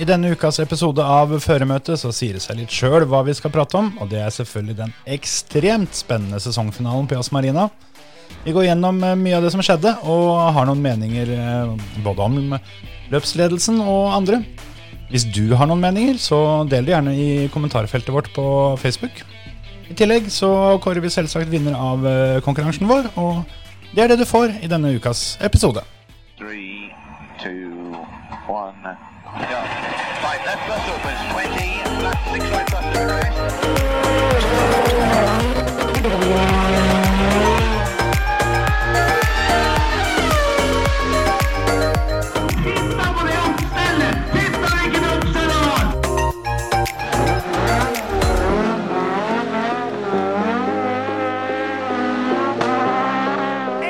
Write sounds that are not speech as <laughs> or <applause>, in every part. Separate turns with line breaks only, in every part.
I denne ukas episode av Føremøtet så sier det seg litt sjøl hva vi skal prate om, og det er selvfølgelig den ekstremt spennende sesongfinalen på Jazz Marina. Vi går gjennom eh, mye av det som skjedde, og har noen meninger eh, både om løpsledelsen og andre. Hvis du har noen meninger, så del det gjerne i kommentarfeltet vårt på Facebook. I tillegg så kårer vi selvsagt vinner av eh, konkurransen vår, og det er det du får i denne ukas episode.
Three, two, one, go. Right, left bus opens, 20, left six right bus to arrest.
Pizza på det omstället! Pizza vilken uppställare!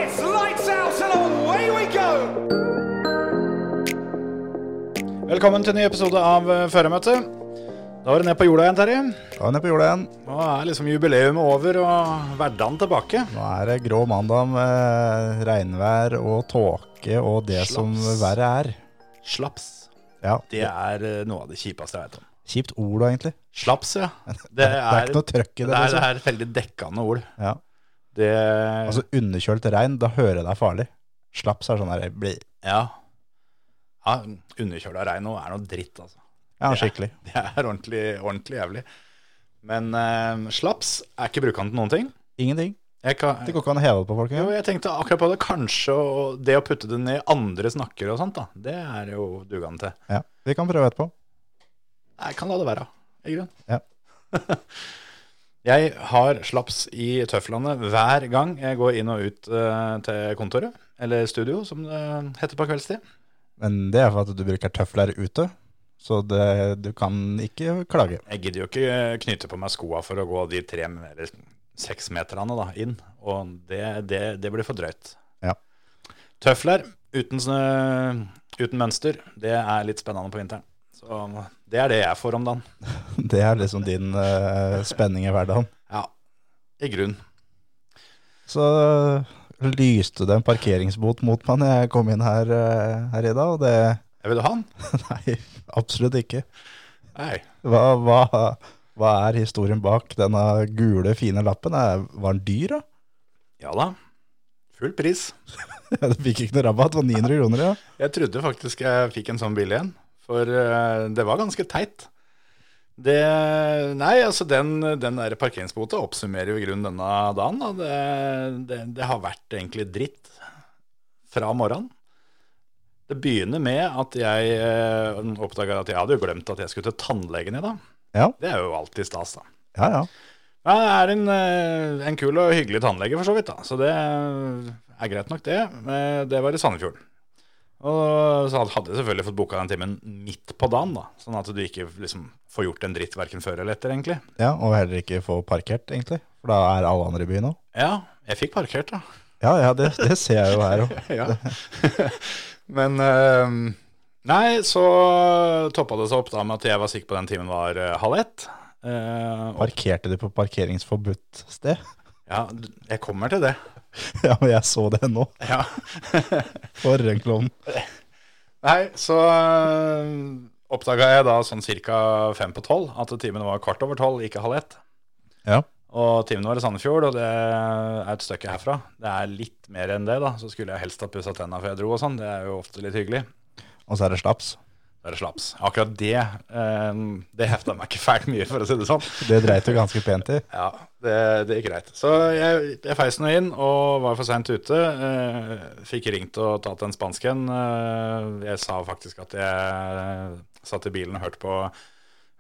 It's lights out and away we go.
Velkommen til en ny episode av eh, Førermøtet. Da var det ned på jorda igjen, Terje.
Da er vi nede på jorda igjen.
Nå er liksom jubileet over og hverdagen tilbake.
Nå er det grå mandag med regnvær og tåke og det
Slaps.
som verre er.
Slaps.
Ja,
Det er eh, noe av det kjipeste jeg vet om.
Kjipt ord da, egentlig.
Slaps, ja. Det er,
<laughs> Det er ikke noe trøkk i det.
Det er,
liksom.
er veldig dekkende ord.
Ja.
Det
Altså underkjølt regn, da hører jeg det er farlig. Slaps er sånn der bli.
Ja. ja Underkjøla regn nå er noe dritt, altså. <laughs>
Ja, skikkelig.
Det er ordentlig, ordentlig jævlig. Men eh, slaps er ikke brukende til noen ting.
Ingenting.
Jeg kan,
Det går ikke an å heve det på folk
Jo,
engang.
jeg tenkte akkurat på det. Kanskje å- det å putte det ned i andre snakker og sånt, da. Det er jo dugende til.
Ja. Vi kan prøve etterpå.
Jeg kan la det være, i grunn.
Ja.
<laughs> jeg har slaps i tøflene hver gang jeg går inn og ut eh, til kontoret. Eller studio, som det heter på kveldstid.
Men det er for at du bruker tøfler ute, så det, du kan ikke klage. <laughs>
Jeg gidder jo ikke knytte på meg skoa for å gå de tre eller seks meterne da, inn. Og det, det, det blir for drøyt.
Ja.
Tøfler uten, snø- uten mønster, det er litt spennende på vinteren. Så det er det jeg får om dagen.
Det er liksom din eh, spenning i hverdagen.
Ja, i grunn.
Så eh, lyste det en parkeringsbot mot meg når jeg kom inn her, eh, her i dag, og det <laughs>
Jeg vil du ha den?
Nei, absolutt ikke.
Nei.
Hva, hva, hva er historien bak denne gule, fine lappen? Er, var den dyr, da? <laughs>
Ja da. Full pris.
Du fikk ikke noe rabatt, det var 900 kroner, ja.
Jeg trodde faktisk jeg fikk en sånn bil igjen, for eh, det var ganske teit. Det, nei, altså den, den der parkeringsbota oppsummerer jo i grunnen denne dagen. Da. Det, det, det har vært egentlig dritt fra morgenen. Det begynner med at jeg eh, oppdager at jeg hadde jo glemt at jeg skulle til tannlegen i dag.
Ja,
Det er jo alltid stas, da.
ja. ja.
Ja, det er en, eh, en kul og hyggelig tannlege for så vidt, da. Så det er greit nok, det. Eh, Det var i Sandefjord. Og så hadde jeg selvfølgelig fått boka den timen midt på dagen, da. Sånn at du ikke liksom, får gjort en dritt verken før eller etter, egentlig.
ja og heller ikke få parkert, egentlig. For da er alle andre i byen òg.
Ja, jeg fikk parkert, da.
Ja, ja, det, det ser jeg jo her òg.
ja. Men eh, Nei, så toppa det seg opp da med at jeg var sikker på den timen var eh, halv ett. Eh, og,
Parkerte de på parkeringsforbudt sted? <laughs>
ja, jeg kommer til det.
Ja, men jeg så det nå.
Ja.
For en klovn.
Nei, så oppdaga jeg da sånn cirka fem på tolv at timen var kvart over tolv, ikke halv ett.
Ja.
Og timen var i Sandefjord, og det er et stykke herfra. Det er litt mer enn det, da. Så skulle jeg helst ha pussa tenna før jeg dro og sånn. Det er jo ofte litt hyggelig.
Og så er det slaps.
Da er det slaps. Akkurat det eh, det hefta meg ikke fælt mye, for å si det sånn.
Det dreit du ganske pent i.
Ja, det, det gikk greit. Så jeg, jeg feis nå inn og var for seint ute. Eh, fikk ringt og tatt en spansk en. Eh, jeg sa faktisk at jeg satt i bilen og hørte på,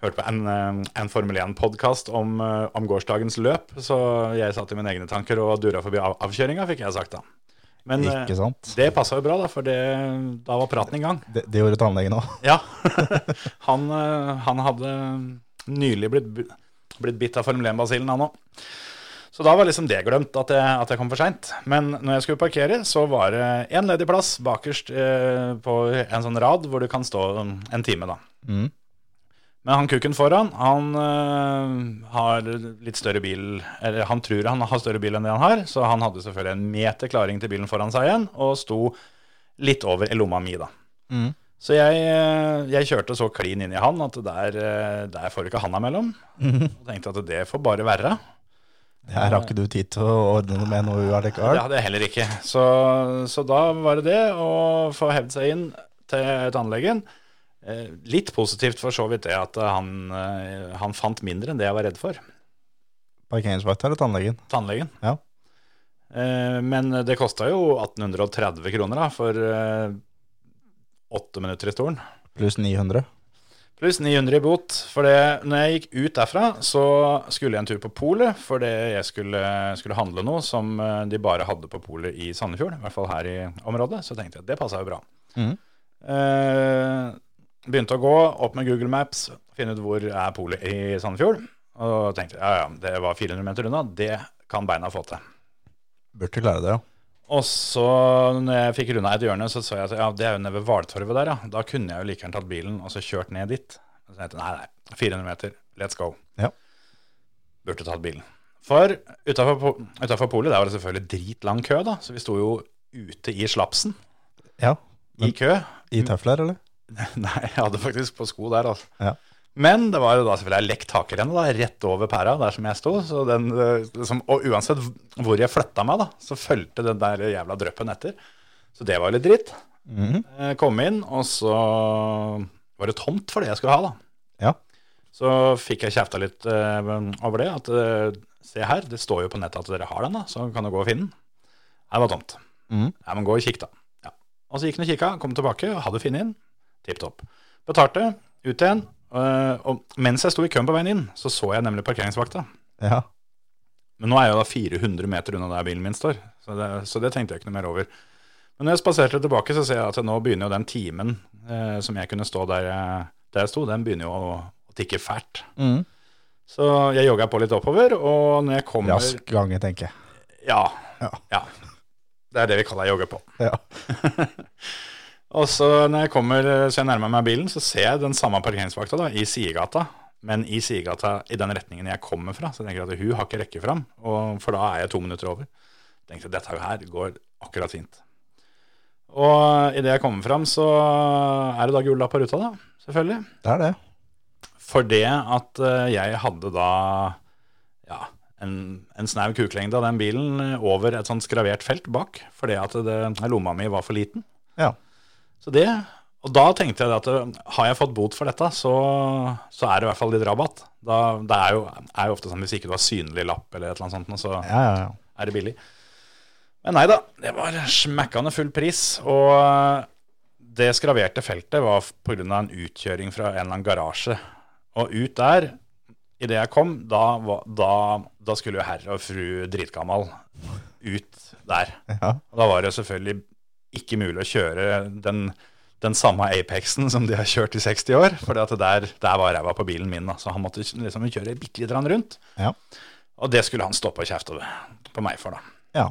hørte på en, eh, en Formel 1-podkast om, eh, om gårsdagens løp, så jeg satt i mine egne tanker og dura forbi av, avkjøringa, fikk jeg sagt da. Men eh,
Ikke sant?
det passa jo bra, da, for det, da var praten i gang.
Det, det gjorde tannlegen òg.
Ja. <laughs> han, eh, han hadde nylig blitt, bu- blitt bitt av Formel 1-basillen, han òg. Så da var liksom det glemt, at jeg, at jeg kom for seint. Men når jeg skulle parkere, så var det én ledig plass bakerst eh, på en sånn rad hvor du kan stå en time, da.
Mm.
Men han kukken foran, han eh, har litt større bil Eller han tror han har større bil enn det han har, så han hadde selvfølgelig en meter klaring til bilen foran seg igjen, og sto litt over i lomma mi, da. Så jeg, eh, jeg kjørte så klin inn i han at der, eh, der får du ikke handa mellom. Og tenkte at det får bare være.
Her har ikke du tid til å ordne noe med noe
Det
allikevel.
hadde jeg heller ikke. Så, så da var det det å få hevd seg inn til tannlegen. Eh, Litt positivt for så vidt det at han, eh, han fant mindre enn det jeg var redd for.
Parkeringsvakt eller tannlegen?
Tannlegen.
Ja.
Eh, Men det kosta jo 1830 kroner da, for eh, åtte minutter i stolen.
Pluss 900.
Pluss 900 i bot. For det, når jeg gikk ut derfra, så skulle jeg en tur på polet. For det jeg skulle, skulle handle noe som eh, de bare hadde på polet i Sandefjord. I hvert fall her i området. Så tenkte jeg at det passa jo bra.
Mhm.
Eh, begynte å gå opp med Google Maps, finne ut hvor er polet i Sandefjord. Og tenkte ja, ja, det var 400 meter unna. Det kan beina få til.
Burde klare det, ja.
Og så når jeg fikk runda et hjørne, så så jeg at ja, det er jo nede ved Hvaltorvet der, ja. Da kunne jeg jo like gjerne tatt bilen og så kjørt ned dit. Så tenkte jeg nei, nei, 400 meter, let's go.
Ja.
Burde tatt bilen. For utafor po- utafor polet, der var det selvfølgelig dritlang kø, da. Så vi sto jo ute i slapsen
Ja,
i kø.
I tøfler, eller?
<laughs> Nei, jeg hadde faktisk på sko der, altså.
Ja.
Men det var jo da selvfølgelig ei lekk takrenn da, rett over pæra der som jeg sto. Så den, eh, liksom, og uansett hvor jeg flytta meg, da, så fulgte den der jævla dryppen etter. Så det var jo litt dritt.
Mm.
Eh, Kom inn, og så var det tomt for det jeg skulle ha, da.
Ja.
Så fikk jeg kjefta litt eh, over det. At eh, se her, det står jo på nettet at dere har den, da, så kan du gå og finne den. Her var tomt.
Mhm.
Ja, men gå og kikk, da. Ja. Og så gikk han og kikka, kom tilbake, hadde funnet den. Tipp topp. Betalte, ut igjen. øh, Og mens jeg sto i køen på veien inn, så så jeg nemlig parkeringsvakta.
Ja.
Men nå er jeg jo da 400 meter unna der bilen min står, så det, så det tenkte jeg ikke noe mer over. Men når jeg spaserte tilbake, så ser jeg at nå begynner jo den timen eh, som jeg kunne stå der jeg, der jeg sto, den begynner jo å, å tikke fælt.
Mhm.
Så jeg jogga på litt oppover, og når jeg kommer
Rask gange, tenker jeg.
Ja.
Ja.
ja. Det er det vi kaller jogge på.
Ja.
Og så når jeg kommer, så jeg nærmer meg bilen, så ser jeg den samme parkeringsvakta da, i sidegata. Men i sidegata i den retningen jeg kommer fra. Så jeg tenker at hun har ikke rekke fram, og, for da er jeg to minutter over. Jeg tenkte dette her går akkurat fint. Og idet jeg kommer fram, så er det da gul lapp på ruta, da. Selvfølgelig.
Det er det.
For det at eh, jeg hadde da ja, en, en snau kuklengde av den bilen eh, over et sånt skravert felt bak, fordi at det, lomma mi var for liten.
Ja.
Så det, og da tenkte jeg at eh, har jeg fått bot for dette, så, så er det i hvert fall litt rabatt. Da, det er jo, er jo ofte sånn hvis ikke du har synlig lapp eller et eller annet sånt, så
Ja, ja, ja.
er det billig. Men nei da, det var smekkende full pris. Og eh, det skraverte feltet var pga. en utkjøring fra en eller annen garasje. Og ut der, idet jeg kom, da, var- da, da skulle jo herr og fru dritgammal ut der.
ja.
Og da var det selvfølgelig ikke mulig å kjøre den, den samme Apexen som de har kjørt i 60 år. For der, der var ræva på bilen min, da. så han måtte liksom kjøre bitte lite grann rundt.
Ja.
Og det skulle han stoppe og kjefte på meg for, da.
ja.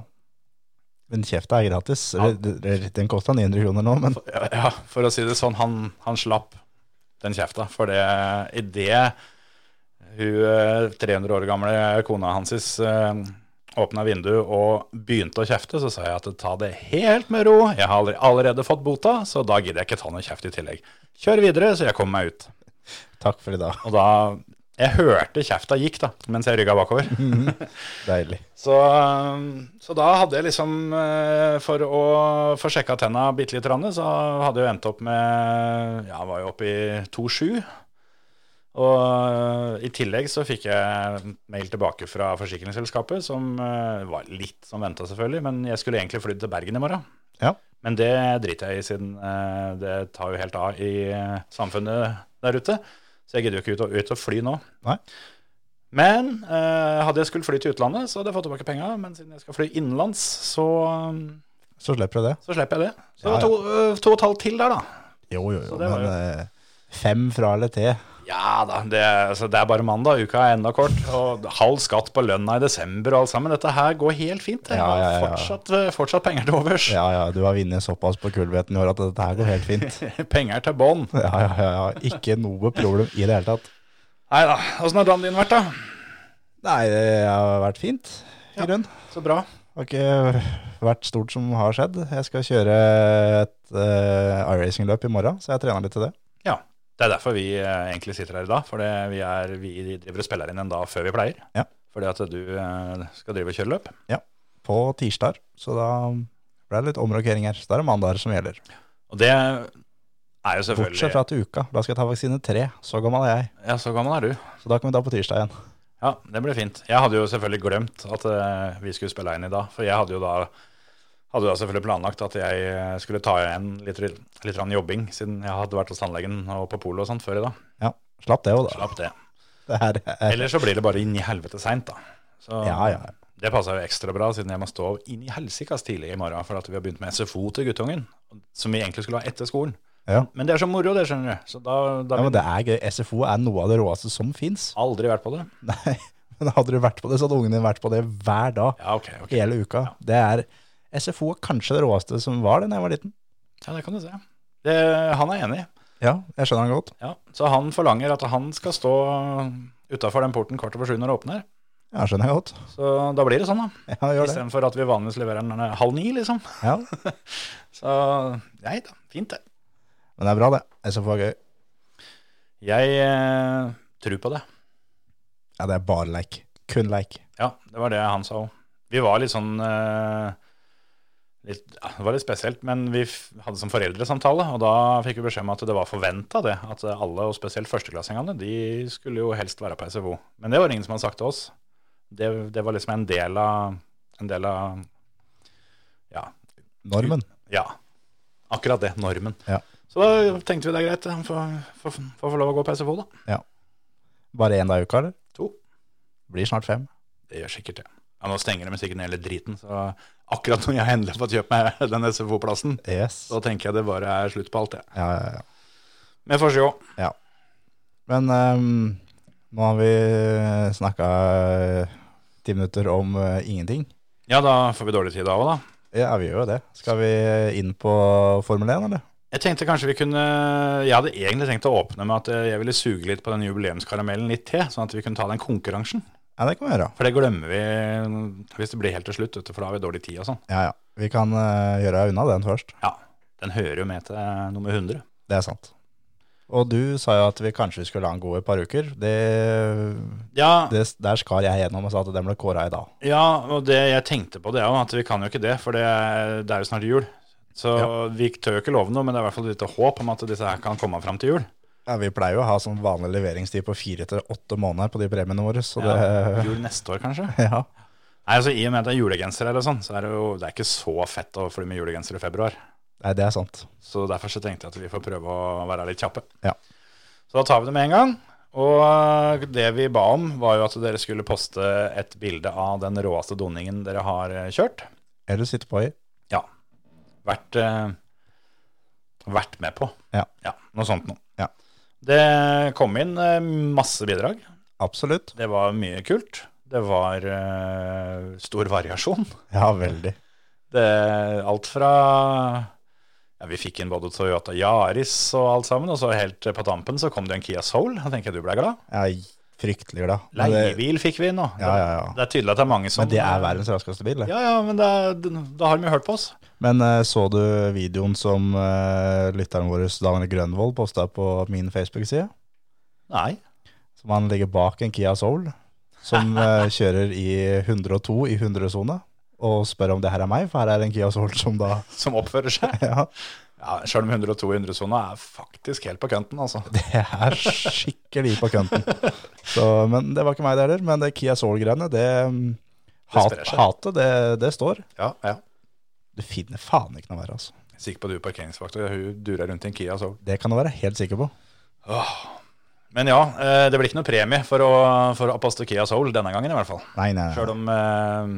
Men kjefta er gratis. Eller, det- Den kosta 900 kroner nå, men
Ja, ja, for å si det sånn, han, han slapp den kjefta. For det, i det hun eh, 300 år gamle kona hans eh, åpna vinduet og begynte å kjefte, så sa jeg at ta det helt med ro, jeg har allerede, allerede fått bota, så da gidder jeg ikke ta noe kjeft i tillegg. Kjør videre, så jeg kommer meg ut.
takk for i dag.
Og da Jeg hørte kjefta gikk, da, mens jeg rygga bakover.
Deilig.
Så, um, så da hadde jeg liksom, eh, for å få sjekka tenna bitte lite grann, så hadde jeg jo endt opp med Ja, var jo oppe i 2,7. Og eh, i tillegg så fikk jeg mail tilbake fra forsikringsselskapet, som eh, var litt som venta, selvfølgelig, men jeg skulle egentlig flydd til Bergen i morgen.
Ja.
Men det driter jeg i, siden eh, det tar jo helt av i eh, samfunnet der ute. Så jeg gidder jo ikke ut og, ut og fly nå.
Nei.
Men eh, hadde jeg skulle fly til utlandet, så hadde jeg fått tilbake penga. Men siden jeg skal fly innenlands, så, eh,
Så slipper du det.
så slipper jeg det. Så
Ja,
det
ja.
var to, eh, to og et halvt til der, da.
Jo, jo, jo.
det var
Men eh, fem fra eller til.
Ja da, det, altså, det er bare mandag, uka er enda kort. Og halv skatt på lønna i desember og alt sammen. Dette her går helt fint. Jeg
Ja,
har
ja, ja.
Fortsatt, eh, fortsatt penger til overs.
Ja, ja. Du har vunnet såpass på kulveten i år at dette her går helt <laughs> fint.
<laughs> Penger til bånn.
Ja, ja, ja. ja. Ikke noe problem i det hele tatt.
Nei da. Åssen har dagen din vært, da?
Nei, det har vært fint, i grunnen.
Så bra.
Har ikke vært stort som har skjedd. Jeg skal kjøre et uh, iRacing-løp i morgen, så jeg trener litt til det.
Ja, det er derfor vi eh, egentlig sitter her i dag. For det- vi, er- vi driver og spiller inn en dag før vi pleier.
Ja.
Fordi at du eh, skal drive og kjøre løp.
På tirsdag, så da ble det litt omrokering her. Så da er det mandager som gjelder.
Og det er jo
Bortsett
selvfølgelig
fra til uka. Da skal jeg ta vaksine tre. Så gammel er jeg.
Ja, så gammel er du.
Så da kan vi ta på tirsdag igjen.
Ja, det ble fint. Jeg hadde jo selvfølgelig glemt at eh, vi skulle spille inn i dag, for jeg hadde jo da, hadde jo da selvfølgelig planlagt at jeg eh, skulle ta igjen litt, litt grann jobbing, siden jeg hadde vært hos tannlegen og på polet og sånt før i dag.
Ja, slapp det jo, da.
Slapp det.
Det her er
Ellers så blir det bare inn i helvete seint, da. Så
Ja, ja.
det passa jo ekstra bra, siden jeg må stå inn i helsikas tidlig i morgen, for at vi har begynt med SFO til guttungen, som vi egentlig skulle ha etter skolen.
Ja.
Men det er så moro, det, skjønner du. Så da, da har
Ja, men
vi
det er gøy. SFO er noe av det råeste som fins.
aldri vært på det.
<laughs> Nei, men hadde du vært på det, så hadde ungen din vært på det hver dag
Ja, ok. ok.
hele uka. Det er SFO er kanskje det råeste som var det da jeg var liten.
Ja, det kan du se. Det, han er enig.
Ja, jeg skjønner han godt.
Ja, så han forlanger at han skal stå utafor den porten kvart over sju når det åpner.
Ja, skjønner jeg godt.
Så da blir det sånn, da.
<laughs> Ja, gjør det.
Istedenfor at vi vanligvis leverer den eh, halv ni, liksom.
Ja,
<laughs> Så nei da, fint det.
men det er bra, det. SFO er gøy.
Jeg eh, tror på det.
Ja, det er bare leik. Kun leik.
Ja, det var det han sa òg. Vi var litt sånn eh, litt, ja, Det var litt spesielt, men vi f hadde sånn foreldresamtale, og da fikk vi beskjed om at det var forventa, det. At alle, og spesielt førsteklassingene, de skulle jo helst være på SFO. Men det var det ingen som hadde sagt til oss. Det, det var liksom en del av, en del av ja,
Normen.
ja, akkurat det. Normen.
Ja.
Så da tenkte vi det er greit, han får, får, får få lov å gå på SFO, da.
Bare én dag i uka, eller?
To.
Blir snart fem.
Det gjør sikkert det. Ja, nå stenger de sikkert ned hele driten, så akkurat når jeg endelig har fått kjøpt meg den SFO-plassen,
Yes.
så tenker jeg det bare er slutt på alt, jeg.
Ja, ja, ja.
Men jeg får se.
Men ehm, nå har vi snakka ti minutter om eh, ingenting.
Ja, da får vi dårlig tid da òg, da.
Ja, vi gjør jo det. Skal vi inn på Formel 1, eller?
Jeg tenkte kanskje vi kunne Jeg hadde egentlig tenkt å åpne med at eh, jeg ville suge litt på den jubileumskaramellen litt til, sånn at vi kunne ta den konkurransen.
Ja, det kan vi gjøre.
For det glemmer vi eh, hvis det blir helt til slutt, vet du, for da har vi dårlig tid og sånn.
Ja, ja. Vi kan eh, gjøre unna den først.
Ja. Den hører jo med til eh, nummer 100.
Det er sant. Og du sa jo at vi kanskje skulle la den gå i et par uker. Det,
Ja,
det, der skar jeg gjennom og sa at den ble kåra i dag.
Ja, og det jeg tenkte på det er jo at vi kan jo ikke det, for det er, det er jo snart jul. Så vi tør jo ikke love noe, men det er i hvert fall et lite håp om at disse her kan komme fram til jul.
Ja, vi pleier jo å ha sånn vanlig leveringstid på fire til åtte måneder på de premiene våre, så det <laughs>
Ja, jul neste år, kanskje?
Ja.
Nei, altså I og med at det er julegenser eller sånn, så er det jo det er ikke så fett å fly med julegenser i februar.
Nei, det er sant.
Så derfor så tenkte jeg at vi får prøve å være litt kjappe.
Ja.
Så da tar vi det med en gang. Og det vi ba om, var jo at dere skulle poste et bilde av den råeste doningen dere har eh, kjørt.
Eller sitte på i.
Ja. Vært, eh, vært med på.
Ja.
Noe sånt noe.
Ja.
Det kom inn eh, masse bidrag.
Absolutt.
Det var mye kult. Det var eh, stor variasjon.
Ja, veldig.
Det, alt fra ja, Vi fikk inn både Toyota Yaris og alt sammen. Og så helt eh, på tampen så kom det en Kia Soul. Da tenker jeg du ble glad.
Jeg er fryktelig glad. Men det,
Leiebil fikk vi inn nå.
Ja, ja, ja.
Det er tydelig at det er mange som
men det er verdens raskeste bil. det.
Ja, ja, men det er, da har de jo hørt på oss.
Men eh, så du videoen som eh, lytteren vår Dagny Grønvold posta på min Facebook-side?
Nei.
Som han ligger bak en Kia Soul,
<laughs>
som eh, kjører i 102 i 100-sone, og spør om det her er meg, for her er en Kia Soul som da <laughs>
Som oppfører seg.
Ja,
Ja, Sjøl om 102 i 100-sona er faktisk helt på kønten, altså.
<laughs> det er skikkelig på kønten. Så, men det var ikke meg det heller. Men det Kia Soul-greiene, det, mm, hat,
sprer seg.
Hatet, det, det står.
Ja, ja.
Du finner faen ikke noe verre, altså.
Sikker på at du er parkeringsvakt, og hun durer rundt i en Kia Soul.
Det kan du være helt sikker på.
Men ja, eh, det blir ikke noe premie for å, for å poste Kia Soul denne gangen, i hvert fall.
Nei, nei, nei.
Sjøl om eh,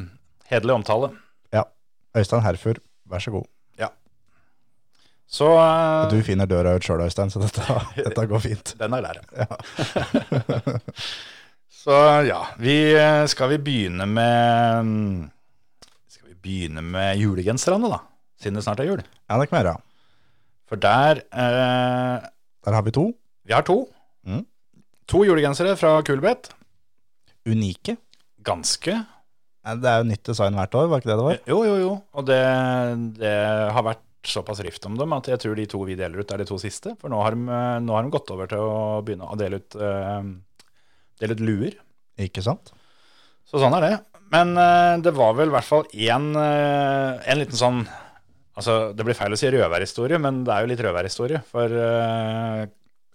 hederlig omtale.
Ja. Øystein Herfjord, vær så god.
Så eh,
Du finner døra ut sjøl, Øystein, så
<laughs>
dette, dette går fint.
den er der, ja. <laughs> Så ja, vi eh, skal vi begynne med mm, Skal vi begynne med julegenserne, da? Siden det snart er jul.
Ja, det kan vi gjøre.
For der eh,
Der har vi to.
Vi har to.
Mm.
To julegensere fra Kulbeth.
Unike.
ganske
Nei, Det er jo nytt design hvert år, var ikke det det var?
Jo, jo, jo. Og det, det har vært såpass rift om dem at jeg tror de to vi deler ut, er de to siste. For nå har de, eh, nå har de gått over til å begynne å dele ut, eh, dele ut luer.
Ikke sant?
Så sånn er det. Men eh, det var vel i hvert fall én en liten sånn Altså, det blir feil å si røverhistorie, men det er jo litt røverhistorie. For eh,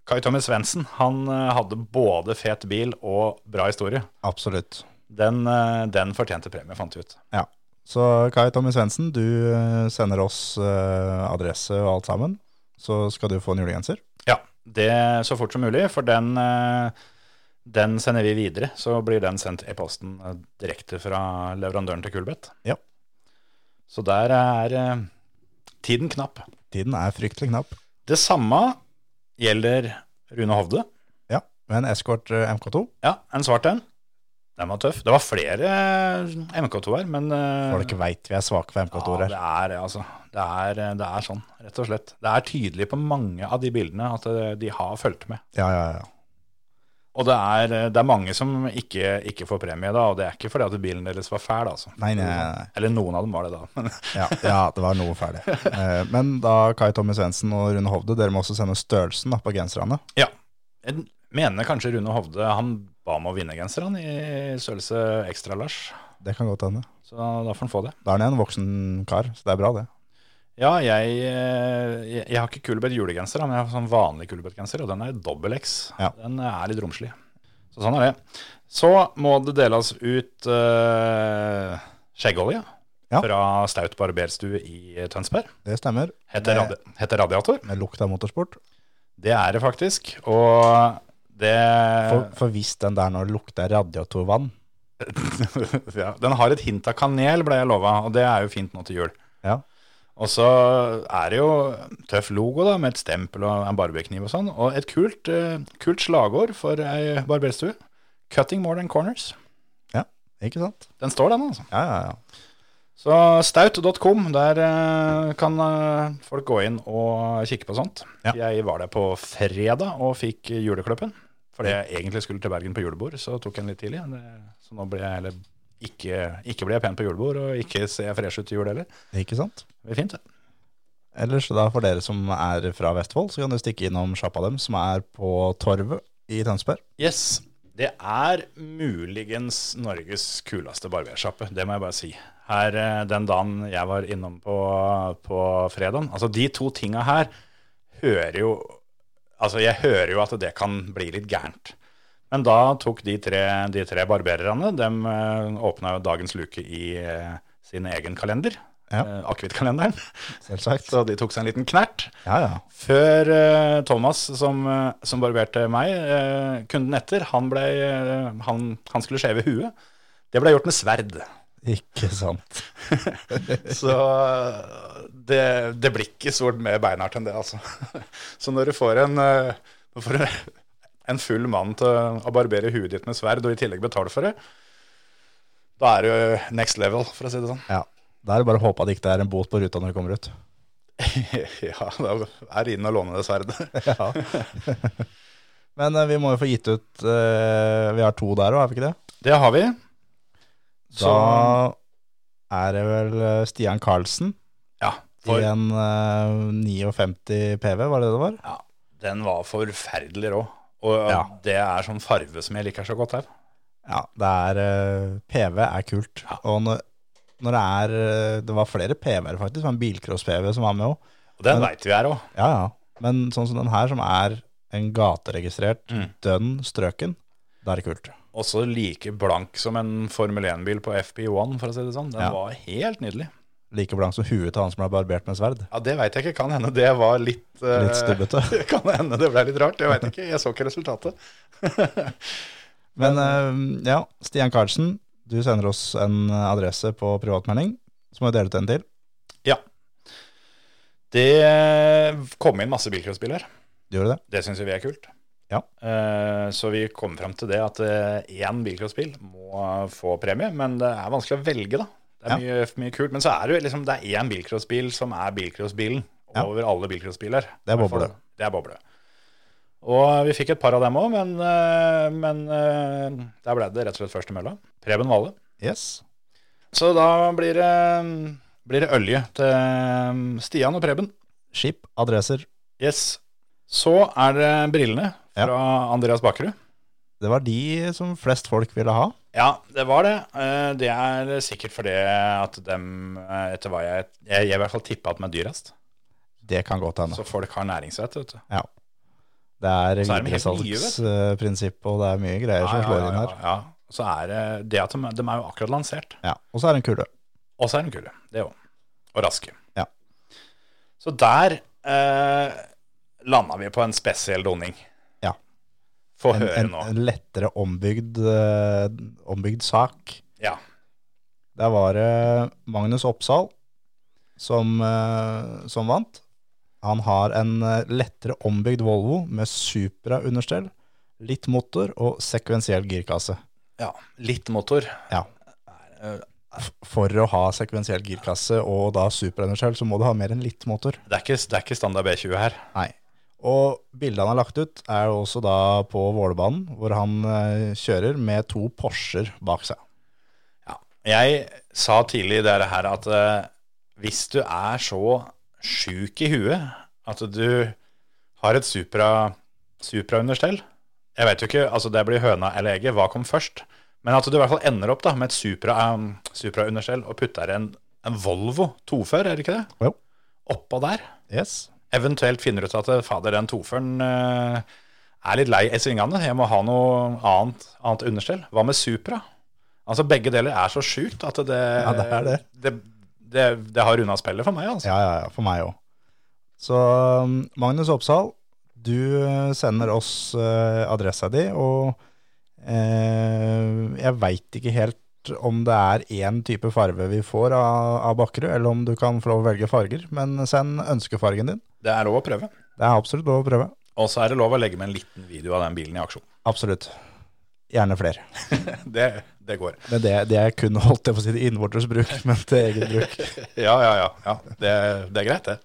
Kai Tommy Svendsen, han eh, hadde både fet bil og bra historie.
Absolutt.
Den, eh, den fortjente premie, fant vi ut.
Ja. Så Kai Tommy Svendsen, du eh, sender oss eh, adresse og alt sammen. Så skal du få en julegenser.
Ja, det så fort som mulig, for den, eh, den sender vi videre. Så blir den sendt i posten eh, direkte fra leverandøren til Kulbeth.
Ja.
Så der er eh, tiden knapp.
Tiden er fryktelig knapp.
Det samme gjelder Rune Hovde.
Ja. Med en Escort eh, MK2.
Ja, en svart en. Den var tøff. Det var flere eh, MK2-er, men eh,
Folk veit vi er svake for MK2-er.
Ja, det er det, altså. Det er, det er sånn, rett og slett. Det er tydelig på mange av de bildene at eh, de har fulgt med.
Ja, ja, ja.
Og det er, eh, det er mange som ikke, ikke får premie da, og det er ikke fordi at bilen deres var fæl, altså.
Nei, nei, nei, nei.
Eller noen av dem var det da. men-
Ja, ja, det var noe ferdig. Eh, Men da Kai Tommy Svendsen og Rune Hovde, dere må også sende størrelsen da, på genserne.
ja. Jeg mener kanskje Rune Hovde, han ba om å vinne genseren i størrelse ekstra, Lars.
Det kan godt hende.
Så da får han få det.
Da er han en voksen kar, så det er bra, det.
Ja, jeg, eh, jeg, jeg har ikke kulebett julegenser, da, men jeg har sånn vanlig kulebettgenser, og den er dobbel X.
Ja.
Den eh, er litt romslig. Så sånn er det. Så må det deles ut eh, skjeggolje
Ja.
fra Staut barberstue i Tønsberg.
Det stemmer.
Heter,
Med-
radi heter radiator.
Med lukt av motorsport.
Det er det faktisk. Og det Eh.
For, for hvis den der nå lukter radiatorvann
<laughs> ja, Den har et hint av kanel, ble jeg lova, og det er jo fint nå til jul.
Ja.
Og så er det jo tøff logo, da, med et stempel og en barberkniv og sånn. Og et kult, eh, kult slagord for ei barberstue. 'Cutting more than corners'.
Ja, ikke sant?
Den står, den, altså.
Ja, ja, ja.
Så staut.com, der eh, kan eh, folk gå inn og kikke på sånt.
Ja.
Jeg var der på fredag og fikk julekløppen. Fordi jeg egentlig skulle til Bergen på julebord, så tok jeg den litt tidlig. Det- Så nå ble jeg heller ikke, ikke ble jeg pen på julebord, og ikke ser jeg fresh ut til jul heller.
Ikke sant?
Det blir fint, det.
Ellers da for dere som er fra Vestfold, så kan du stikke innom sjappa dem, som er på Torvet i Tønsberg.
Yes. Det er muligens Norges kuleste barbersjappe, det må jeg bare si. Her, eh, Den dagen jeg var innom på, på fredagen Altså, de to tinga her hører jo Altså, jeg hører jo at det kan bli litt gærent. Men da tok de tre, de tre barbererne De åpna jo dagens luke i eh, sin egen kalender.
Ja.
eh, Akevittkalenderen. <laughs>
Selvsagt.
Så de tok seg en liten knert.
Ja, ja.
Før eh, Thomas, som, eh, som barberte meg, eh, kunden etter, han, ble, eh, han, han skulle skjeve huet. Det ble gjort med <laughs> sverd.
Ikke sant.
Så eh, det, det blir ikke stort mer beinhardt enn det, altså. <laughs> Så når du får en, eh, når du får <laughs> en- en full mann til å barbere huet ditt med sverd, og i tillegg betale for det, da er du next level, for å si det sånn. <laughs>
Ja. Da er det bare å håpe at det ikke er en båt på ruta når du kommer ut.
Ja, da er det inn og låne det sverdet.
Ja. <laughs> Men eh, vi må jo få gitt ut eh, Vi har to der òg, har vi ikke det?
Det har vi.
Da
Så-
er det vel eh, Stian Karlsen
ja,
i en eh, 59 PV, var det det var?
Ja, den var forferdelig rå. Og
Ja.
det er sånn farve som jeg liker så godt her.
Ja, det er eh, PV er kult. Og når, når det er eh, Det var flere PV-er, faktisk. Det var en bilcross-PV som var med òg.
Og den
Men-
veit vi er òg.
Ja, ja. Men sånn som den her, som er en gateregistrert, dønn strøken, da er det kult.
Også like blank som en Formel 1-bil på FP1, for å si det sånn. Den
Ja.
var helt nydelig.
Like blank som huet til han som ble barbert med sverd.
Ja, det veit jeg ikke. Kan hende det var litt eh,
Litt stubbete.
Kan hende <laughs> det ble litt rart. Jeg veit ikke. Jeg så ikke resultatet.
Men eh, ja, Stian Karlsen, du sender oss en adresse på privatmelding, så må vi dele ut en til.
Ja. Det kom inn masse bilcrossbiler.
Du gjorde det?
Det syns vi er kult.
Ja.
Eh, Så vi kom fram til det at eh, én bilcrossbil må få premie, men det er vanskelig å velge, da. Det er mye, mye kult. Men så er det jo liksom det er én bilcrossbil som er bilcrossbilen
Ja.
over alle bilcrossbiler.
Det er
I hvert fall.
boble.
Det er boble. Og vi fikk et par av dem òg, men, eh, men eh, der ble det rett og slett først i mølla. Preben Vale.
Yes.
Så da blir det, blir det ølje til um, Stian og Preben.
Skip, adresser.
Yes. Så er det brillene
Ja.
fra Andreas Bakkerud.
Det var de som flest folk ville ha.
Ja, det var det. Eh, Det er sikkert fordi at dem, eh, etter hva jeg Jeg, jeg i hvert fall tippa at de er dyrest.
Det kan godt hende.
Så folk har næringsvett, vet du.
Ja. Det er
Så er de helt nye, vet
videresalgsprinsipp, og det er mye greier som slår inn her.
ja, ja. Så er det det at de, de er jo akkurat lansert.
Ja, Og så er det en kule.
Og så er de kule, det òg. Og raske.
Ja.
Så der eh, landa vi på en spesiell doning.
Ja.
Få
En,
høre
en,
nå.
en lettere ombygd, eh, ombygd sak.
Ja.
Der var det Magnus Oppsal som, eh, som vant. Han har en eh, lettere ombygd Volvo med Supra understell, litt motor og sekvensiell girkasse.
ja. Litt motor.
Ja. F- For å ha sekvensiell girkasse og da Supra understell, så må du ha mer enn litt motor.
Det er ikke, det er ikke standard B20 her.
Nei. Og bildet han har lagt ut, er jo også da på Vålerbanen, hvor han eh, kjører med to Porscher bak seg.
Jeg sa tidlig i dere her at eh, hvis du er så sjuk i huet at du har et supra, supraunderstell Jeg vet jo ikke, altså det blir høna eller egget, hva kom først? Men at du i hvert fall ender opp da med et supra, um, supraunderstell og putter en, en Volvo 2-før, er det ikke det?
Jo.
Oppå der.
Yes.
Eventuelt finner du ut at eh, fader, den 2-føren eh, er litt lei i svingene, jeg må ha noe annet, annet understell. Hva med Supra? Altså Begge deler er så sjukt at det
Ja, det er det.
det, det, det har runda spillet for meg. altså.
Ja, ja, ja, for meg òg. Så um, Magnus Oppsal, du eh, sender oss eh, adressa di, og eh, jeg veit ikke helt om det er én type farve vi får av, av Bakkerud, eller om du kan få lov å velge farger, men send ønskefargen din.
Det er lov å prøve.
Det er absolutt lov å prøve.
Og så er det lov å legge med en liten video av den bilen i aksjon. <laughs>
Absolutt. Gjerne flere.
Det, det går.
Men det, det er kun <laughs> holdt jeg på å si til innvortes bruk, men til eget bruk.
Ja, ja, ja. ja. Det, det er greit, det.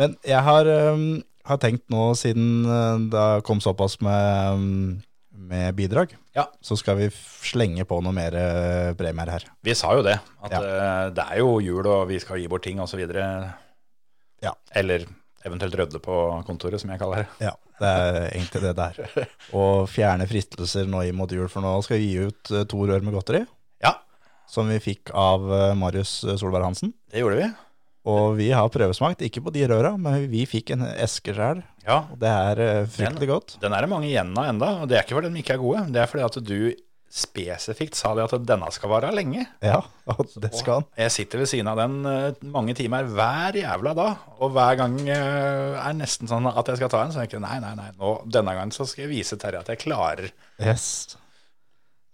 Men jeg har, øhm, har tenkt nå, siden øh, det kom såpass med, øhm, med bidrag,
Ja.
så skal vi f- slenge på noe mer øh, premier her.
Vi sa jo det. At
Ja.
eh, det er jo jul, og vi skal gi bort ting osv.
Ja.
Eller eventuelt rødde på kontoret, som jeg kaller det.
Ja, det er egentlig det der. Og fjerne fristelser nå inn mot jul, for nå skal vi gi ut øh, to rør med godteri,
Ja,
som vi fikk av øh, Marius øh, Solberg Hansen.
det gjorde vi.
Og vi har prøvesmakt, ikke på de røra, men vi fikk en eske sjøl.
Ja,
Og det er øh, fryktelig godt.
Den er det mange igjen av enda, og det er ikke fordi de ikke er gode. Det er fordi at du spesifikt sa det at denne skal vare lenge.
Ja, og det skal han.
Jeg sitter ved siden av den eh, mange timer hver jævla dag, og hver gang eh, er nesten sånn at jeg skal ta en, så tenker jeg nei, nei, nei, nå, denne gangen så skal jeg vise Terje at jeg klarer.
Yes.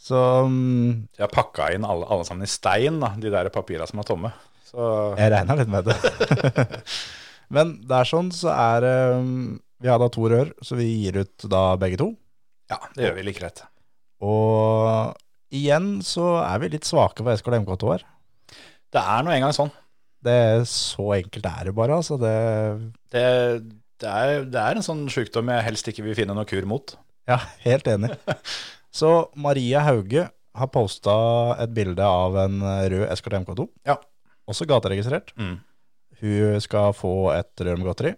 Så mm,
Så jeg har pakka inn alle, alle sammen i stein, da, de der papirene som er tomme. Så
Jeg regner litt med det. <laughs> Men det er sånn, så er det Vi har da to rør, så vi gir ut da begge to.
ja, det gjør vi like rett.
Og igjen så er vi litt svake for SKL MK2 her.
Det er nå engang sånn.
Det er så enkelt er det bare, altså. Det,
Det, det, er, det er en sånn sjukdom jeg helst ikke vil finne noe kur mot.
ja, helt enig. Så Maria Hauge har posta et bilde av en rød SKL MK2.
Ja.
Også gateregistrert.
Mm.
Hun skal få et rør med godteri.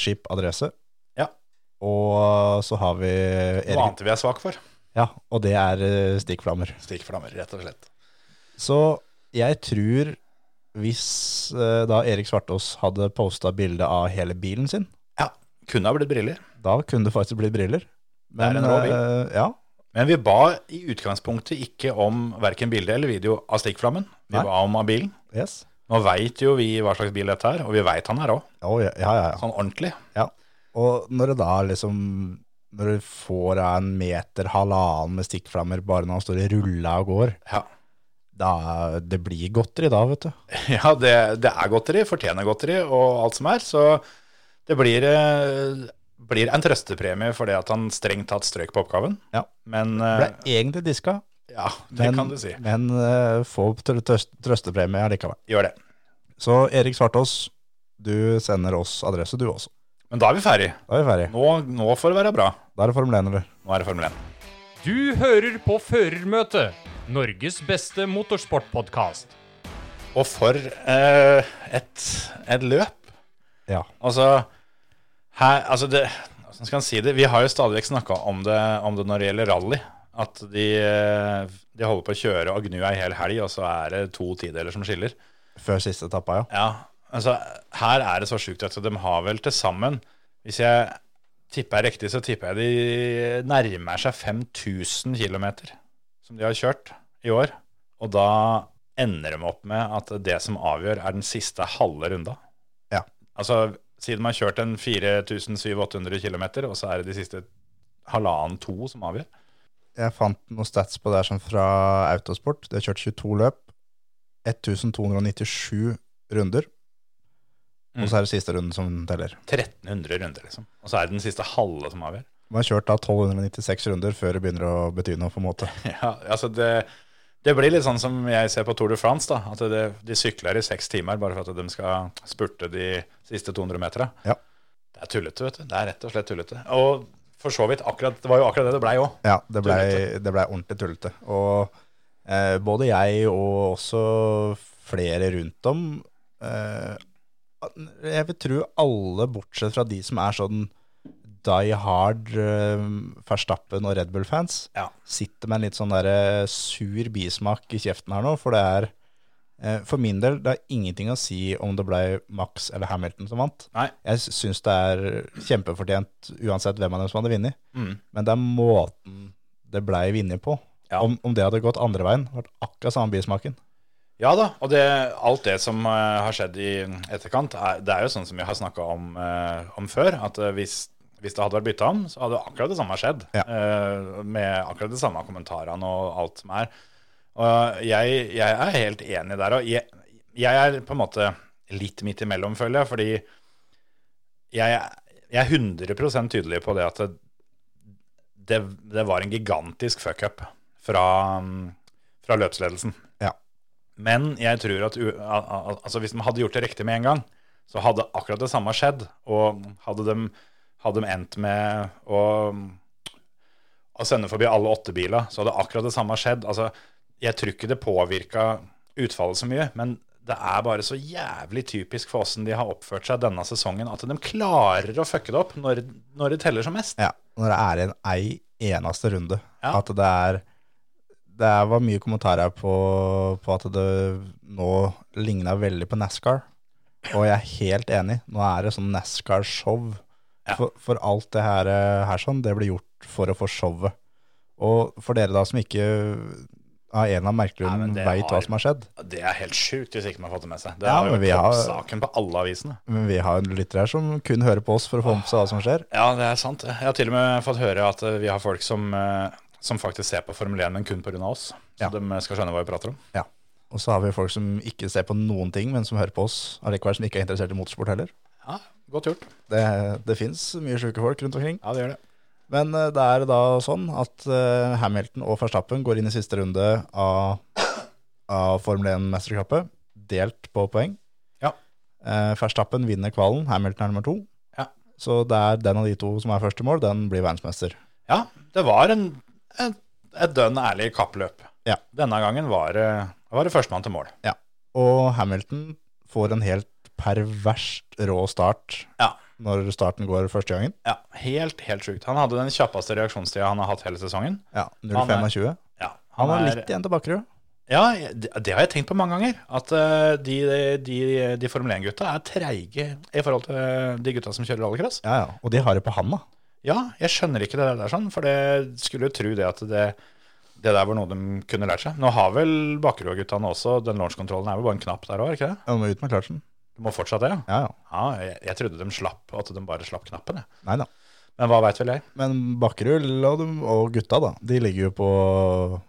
Skip, adresse.
Ja.
Og så har vi
Noe
Erik
annet vi er svak for.
Ja, og det er eh, stikkflammer.
Stikkflammer, rett og slett.
Så jeg tror hvis eh, da Erik Svartås hadde posta bilde av hele bilen sin,
Ja, kunne ha blitt briller.
da kunne det faktisk blitt briller.
Det er en rå bil.
eh, ja,
Men vi ba i utgangspunktet ikke om verken bilde eller video av stikkflammen. Vi
Nei.
ba om av bilen.
yes.
Nå veit jo vi hva slags bil dette er, og vi veit han er òg,
Å, ja, ja, ja, ja.
sånn ordentlig.
ja. Og når det da liksom Når du får av en meter, halvannen med stikkflammer bare når han står i rulla og går,
Ja,
da Det blir godteri da, vet du.
<laughs> ja det, det er godteri, fortjener godteri og alt som er, så det blir, eh, blir en trøstepremie for det at han strengt tatt strøk på oppgaven.
Ja.
Men
Ble
eh,
egentlig diska,
ja, det
men,
kan du si.
men eh, få trø- trøst- trøstepremie allikevel.
Gjør det.
Så Erik Svartås, du sender oss adresse du også.
Men da er vi ferdig.
Da er vi ferdige.
Nå, nå får det være bra.
Da er det Formel 1, eller?
Nå er det Formel 1.
Du hører på Førermøtet, Norges beste motorsportpodkast.
Og for eh, et, et løp.
Ja.
Altså, her, altså det, hvordan skal en si det? Vi har jo stadig vekk snakka om, det- om det når det gjelder rally. At de, eh, de holder på å kjøre og gnu ei hel helg, og så er det to tideler som skiller.
Før siste etappa, ja.
Ja, altså her er det så sjukt at de har vel til sammen Hvis jeg tipper riktig, så tipper jeg de nærmer seg 5000 km som de har kjørt i år. Og da ender de opp med at det som avgjør, er den siste halve runda.
Ja.
Altså, siden man har kjørt en 4700-800 km, og så er det de siste halvannen-to som avgjør.
Jeg fant noen stats på det her sånn fra Autosport. De har kjørt 22 løp. 1297 runder. Og så er det siste runden som teller.
1300 runder, liksom. Og så er det den siste halve som avgjør.
Man har kjørt da 1296 runder før det begynner å bety noe, på en måte.
Ja, altså det, det blir litt sånn som jeg ser på Tour de France, da. At det, de sykler i seks timer bare for at de skal spurte de siste 200 meterne.
Ja.
Det er tullete, vet du. Det er rett og slett tullete. Og for så vidt, akkurat, det var jo akkurat det det blei òg.
Ja, det blei
Tullete.
det blei ordentlig tullete. Og eh, både jeg og også flere rundt om eh, Jeg vil tro alle, bortsett fra de som er sånn die hard eh, Verstappen og Red Bull-fans,
Ja.
sitter med en litt sånn der eh, sur bismak i kjeften her nå, for det er eh, for min del, det er ingenting å si om det ble Max eller Hamilton som vant.
Nei.
Jeg syns det er kjempefortjent uansett hvem av dem som hadde vunnet.
Mm.
Men det er måten det blei vunnet på.
Ja.
Om, om det hadde gått andre veien, hadde det vært akkurat samme bismaken.
Ja da, og det, alt det som eh, har skjedd i etterkant, er, det er jo sånn som vi har snakka om, eh, om før. At eh, hvis, hvis det hadde vært bytta om, så hadde akkurat det samme skjedd.
Ja.
eh, med akkurat de samme kommentarene og alt som er. Og jeg, jeg er helt enig der. Og jeg, jeg er på en måte litt midt imellom, føler jeg. Fordi jeg, jeg er 100 tydelig på det at det, det, det var en gigantisk fuck-up fra, fra løpsledelsen.
Ja.
Men jeg tror at u, al, al, altså hvis de hadde gjort det riktig med en gang, så hadde akkurat det samme skjedd. Og hadde de, hadde de endt med å, å sende forbi alle åtte biler, så hadde akkurat det samme skjedd. Altså, jeg tror ikke det påvirka utfallet så mye, men det er bare så jævlig typisk for åssen de har oppført seg denne sesongen, at de klarer å fucke det opp når, når det teller som mest.
Ja, når det er en ei eneste runde.
Ja.
At det er Det er- var mye kommentarer på, på at det nå ligna veldig på NASCAR. Og jeg er helt enig. Nå er det sånn NASCAR-show. For, for alt det her, eh, her sånn, det blir gjort for å få showet. Og for dere da som ikke av en eller annen merkelig
Nei, men
grunn
det
veit
har-
hva som har skjedd,
Det er helt sjukt hvis ikke man har fått det med seg. Det
Ja,
har
men
jo
vi har-
vært saken på alle avisene.
Men vi har jo lyttere her som kun hører på oss for å få med seg hva som skjer.
Ja, det er sant. det. Jeg har til og med fått høre at eh, vi har folk som, eh, som faktisk ser på Formel 1, men kun pga. oss. Så
Ja.
de eh, skal skjønne hva vi prater om.
Ja. Og så har vi folk som ikke ser på noen ting, men som hører på oss allikevel, som ikke er interessert i motorsport heller.
Ja, Godt gjort.
Det, det fins mye sjuke folk rundt omkring.
Ja, det gjør det.
Men eh, det er da sånn at eh, Hamilton og Verstappen går inn i siste runde av, av Formel 1-mesterskapet, delt på poeng.
Ja.
Eh, Verstappen vinner kvalen, Hamilton er nummer to.
Ja.
Så det er den av de to som er først i mål, den blir verdensmester.
Ja, det var en, et, et dønn ærlig kappløp.
Ja.
Denne gangen var det, var det førstemann til mål.
Ja. Og Hamilton får en helt perverst rå start
Ja.
når starten går første gangen.
ja helt, helt sjukt. Han hadde den kjappeste reaksjonstida han har hatt hele sesongen.
Ja,
Han er-
0,25. Han,
Ja,
har litt igjen til Bakkerud.
Ja, det, det har jeg tenkt på mange ganger. At eh, de, de, de Formel 1-gutta er treige i forhold til de gutta som kjører rallycross.
Ja, ja. Og de har det på handa.
Ja, jeg skjønner ikke det der sånn, for det skulle jo tro det at det, det der var noe de kunne lært seg. Nå har vel Bakkerud-guttene også, den launchkontrollen er vel bare en knapp der òg, ikke det?
Ja, må ut med Klarsen.
Du må fortsatt det, ja.
Ja, ja.
Ja, jeg, jeg trodde de slapp, at de bare slapp knappen, jeg.
Nei da.
Men hva veit vel jeg.
Men Bakkerud og, dem- og gutta, da, de ligger jo på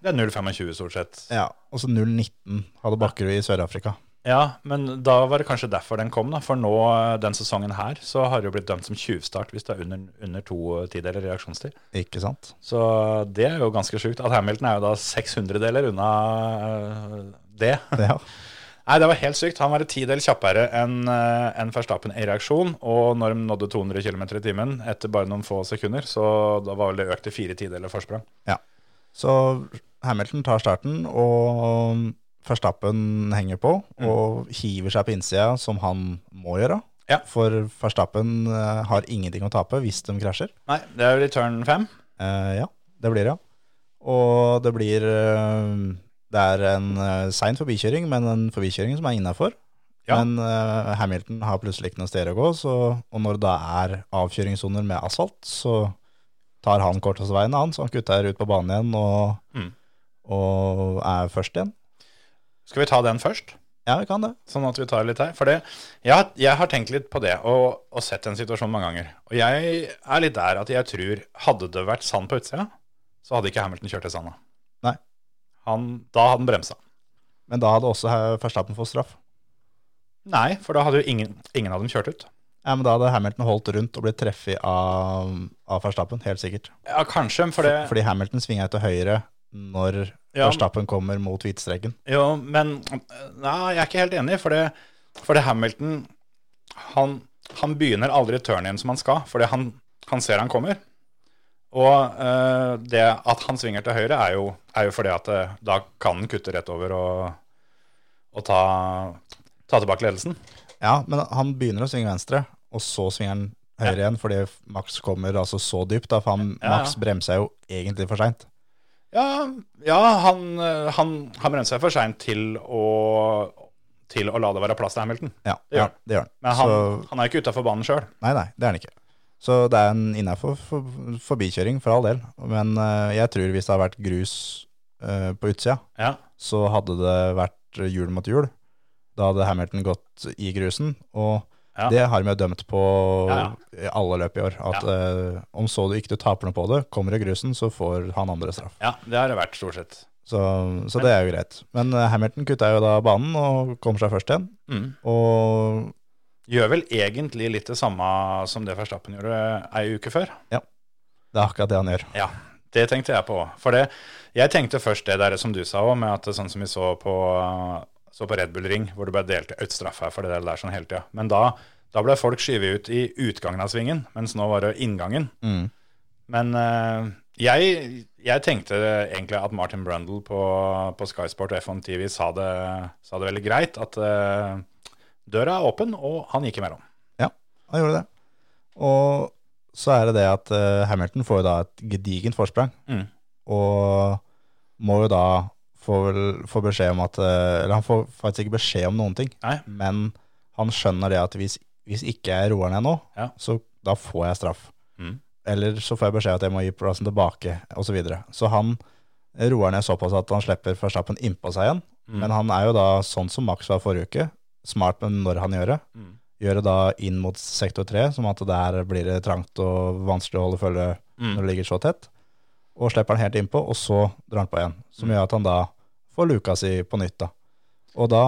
Det er 0,25 stort sett.
Ja, også 0,19 hadde Bakkerud i Sør-Afrika.
Ja, men da var det kanskje derfor den kom, da. For nå, den sesongen her, så har det jo blitt dømt som tjuvstart hvis det er under, under to tideler reaksjonstid.
Ikke <laughs> sant?
Så det er jo ganske sjukt. At Hamilton er jo da 600 deler unna øh, det.
Ja.
Nei, det var helt sykt. Han var en tidel kjappere enn eh, enn Verstappen i reaksjon. Og når de nådde 200 km i timen etter bare noen få sekunder, så da var vel det økt til fire tideler forsprang.
Så Hamilton tar starten, og Verstappen henger på og hiver seg på innsida, som han må gjøre.
Ja.
For Verstappen eh, har ingenting å tape hvis de krasjer.
Nei, det er jo return 5.
Eh, ja, det blir det, ja. Og det blir eh, Det er en eh, sein forbikjøring, men en forbikjøring som er innafor.
Ja.
Men eh, Hamilton har plutselig ikke noe sted å gå, så, og når det da er avkjøringssoner med asfalt, så tar han korteste veien, han, så han kutter ut på banen igjen og,
Mm.
og er først igjen.
Skal vi ta den først?
Ja, vi kan det.
Sånn at vi tar litt her. For det, jeg, har- jeg har tenkt litt på det, og, og sett den situasjonen mange ganger. Og jeg er litt der at jeg tror, hadde det vært sand på utsida, så hadde ikke Hamilton kjørt i sanda.
Nei.
Han, da hadde han bremsa.
Men da hadde også eh, Verstappen fått straff.
Nei, for da hadde jo ingen, ingen av dem kjørt ut.
Ja, men da hadde Hamilton holdt rundt og blitt treffet av, av Verstappen, helt sikkert.
Ja, kanskje, for det
Fordi Hamilton svinga til høyre når
Ja.
Verstappen kommer mot hvitstreken.
Jo, men Nei, jeg er ikke helt enig, for det, for det Hamilton han, han begynner aldri turn-in som han skal, fordi han, han ser han kommer. Og eh, det at han svinger til høyre, er jo, er jo fordi at eh, da kan han kutte rett over og, og ta, ta tilbake ledelsen.
Ja, men han begynner å svinge venstre, og så svinger han høyre igjen, fordi Max kommer altså så dypt. Da, for han,
Ja, ja.
Max bremsa jo egentlig for seint.
Ja, ja han, eh, han, han bremser seg for seint til, å- til å la det være plass til Hamilton.
Ja,
Det gjør
ja,
han.
det gjør han.
Men han,
Så,
han er jo ikke utafor banen sjøl.
nei, nei, det er han ikke. Så det er en innafor for, forbikjøring, for all del. Men eh, jeg tror hvis det hadde vært grus eh, på utsida,
Ja.
så hadde det vært hjul mot hjul. Da hadde Hamilton gått i grusen, og
Ja.
det har vi jo dømt på
Ja,
i alle løp i år. At eh, om så du ikke du taper noe på det, kommer det grusen, så får han andre straff.
ja, det har det vært, stort sett.
Så, så det er jo greit. Men eh, Hamilton kutta jo da banen og kommer seg først igjen.
Mm.
Og
Gjør vel egentlig litt det samme som det Verstappen gjorde ei uke før.
det er akkurat det han gjør.
Ja, det tenkte jeg på òg. For det, jeg tenkte først det der som du sa òg, med at det er sånn som vi så på, så på Red Bull Ring, hvor det ble delt ut straff her for det der sånn hele tida. Men da, da ble folk skyvet ut i utgangen av svingen, mens nå var det inngangen.
Mm.
Men eh, jeg, jeg tenkte egentlig at Martin Brundle på, på Sky Sport og F1 TV sa det, sa det veldig greit, at eh, døra er åpen, og han gikk imellom.
Han gjorde det. Og så er det det at eh, Hamilton får jo da et gedigent forsprang.
Mm.
Og må jo da få, vel- få beskjed om at eh, Eller han får faktisk ikke beskjed om noen ting,
Nei.
men han skjønner det at hvis, hvis ikke jeg roer ned nå,
Ja.
så da får jeg straff.
Mm.
Eller så får jeg beskjed at jeg må gi plassen tilbake, osv. Så, videre. så han roer ned såpass at han slipper Verstappen innpå seg igjen.
Mm.
Men han er jo da sånn som Max var forrige uke, smart med når han gjør det
Mm.
gjøre da inn mot sektor 3, som at der blir det trangt og vanskelig å holde følge
Mm.
når det ligger så tett. Og slipper han helt innpå, og så drar han på igjen.
Mm.
Som gjør at han da får luka si på nytt. da. Og da,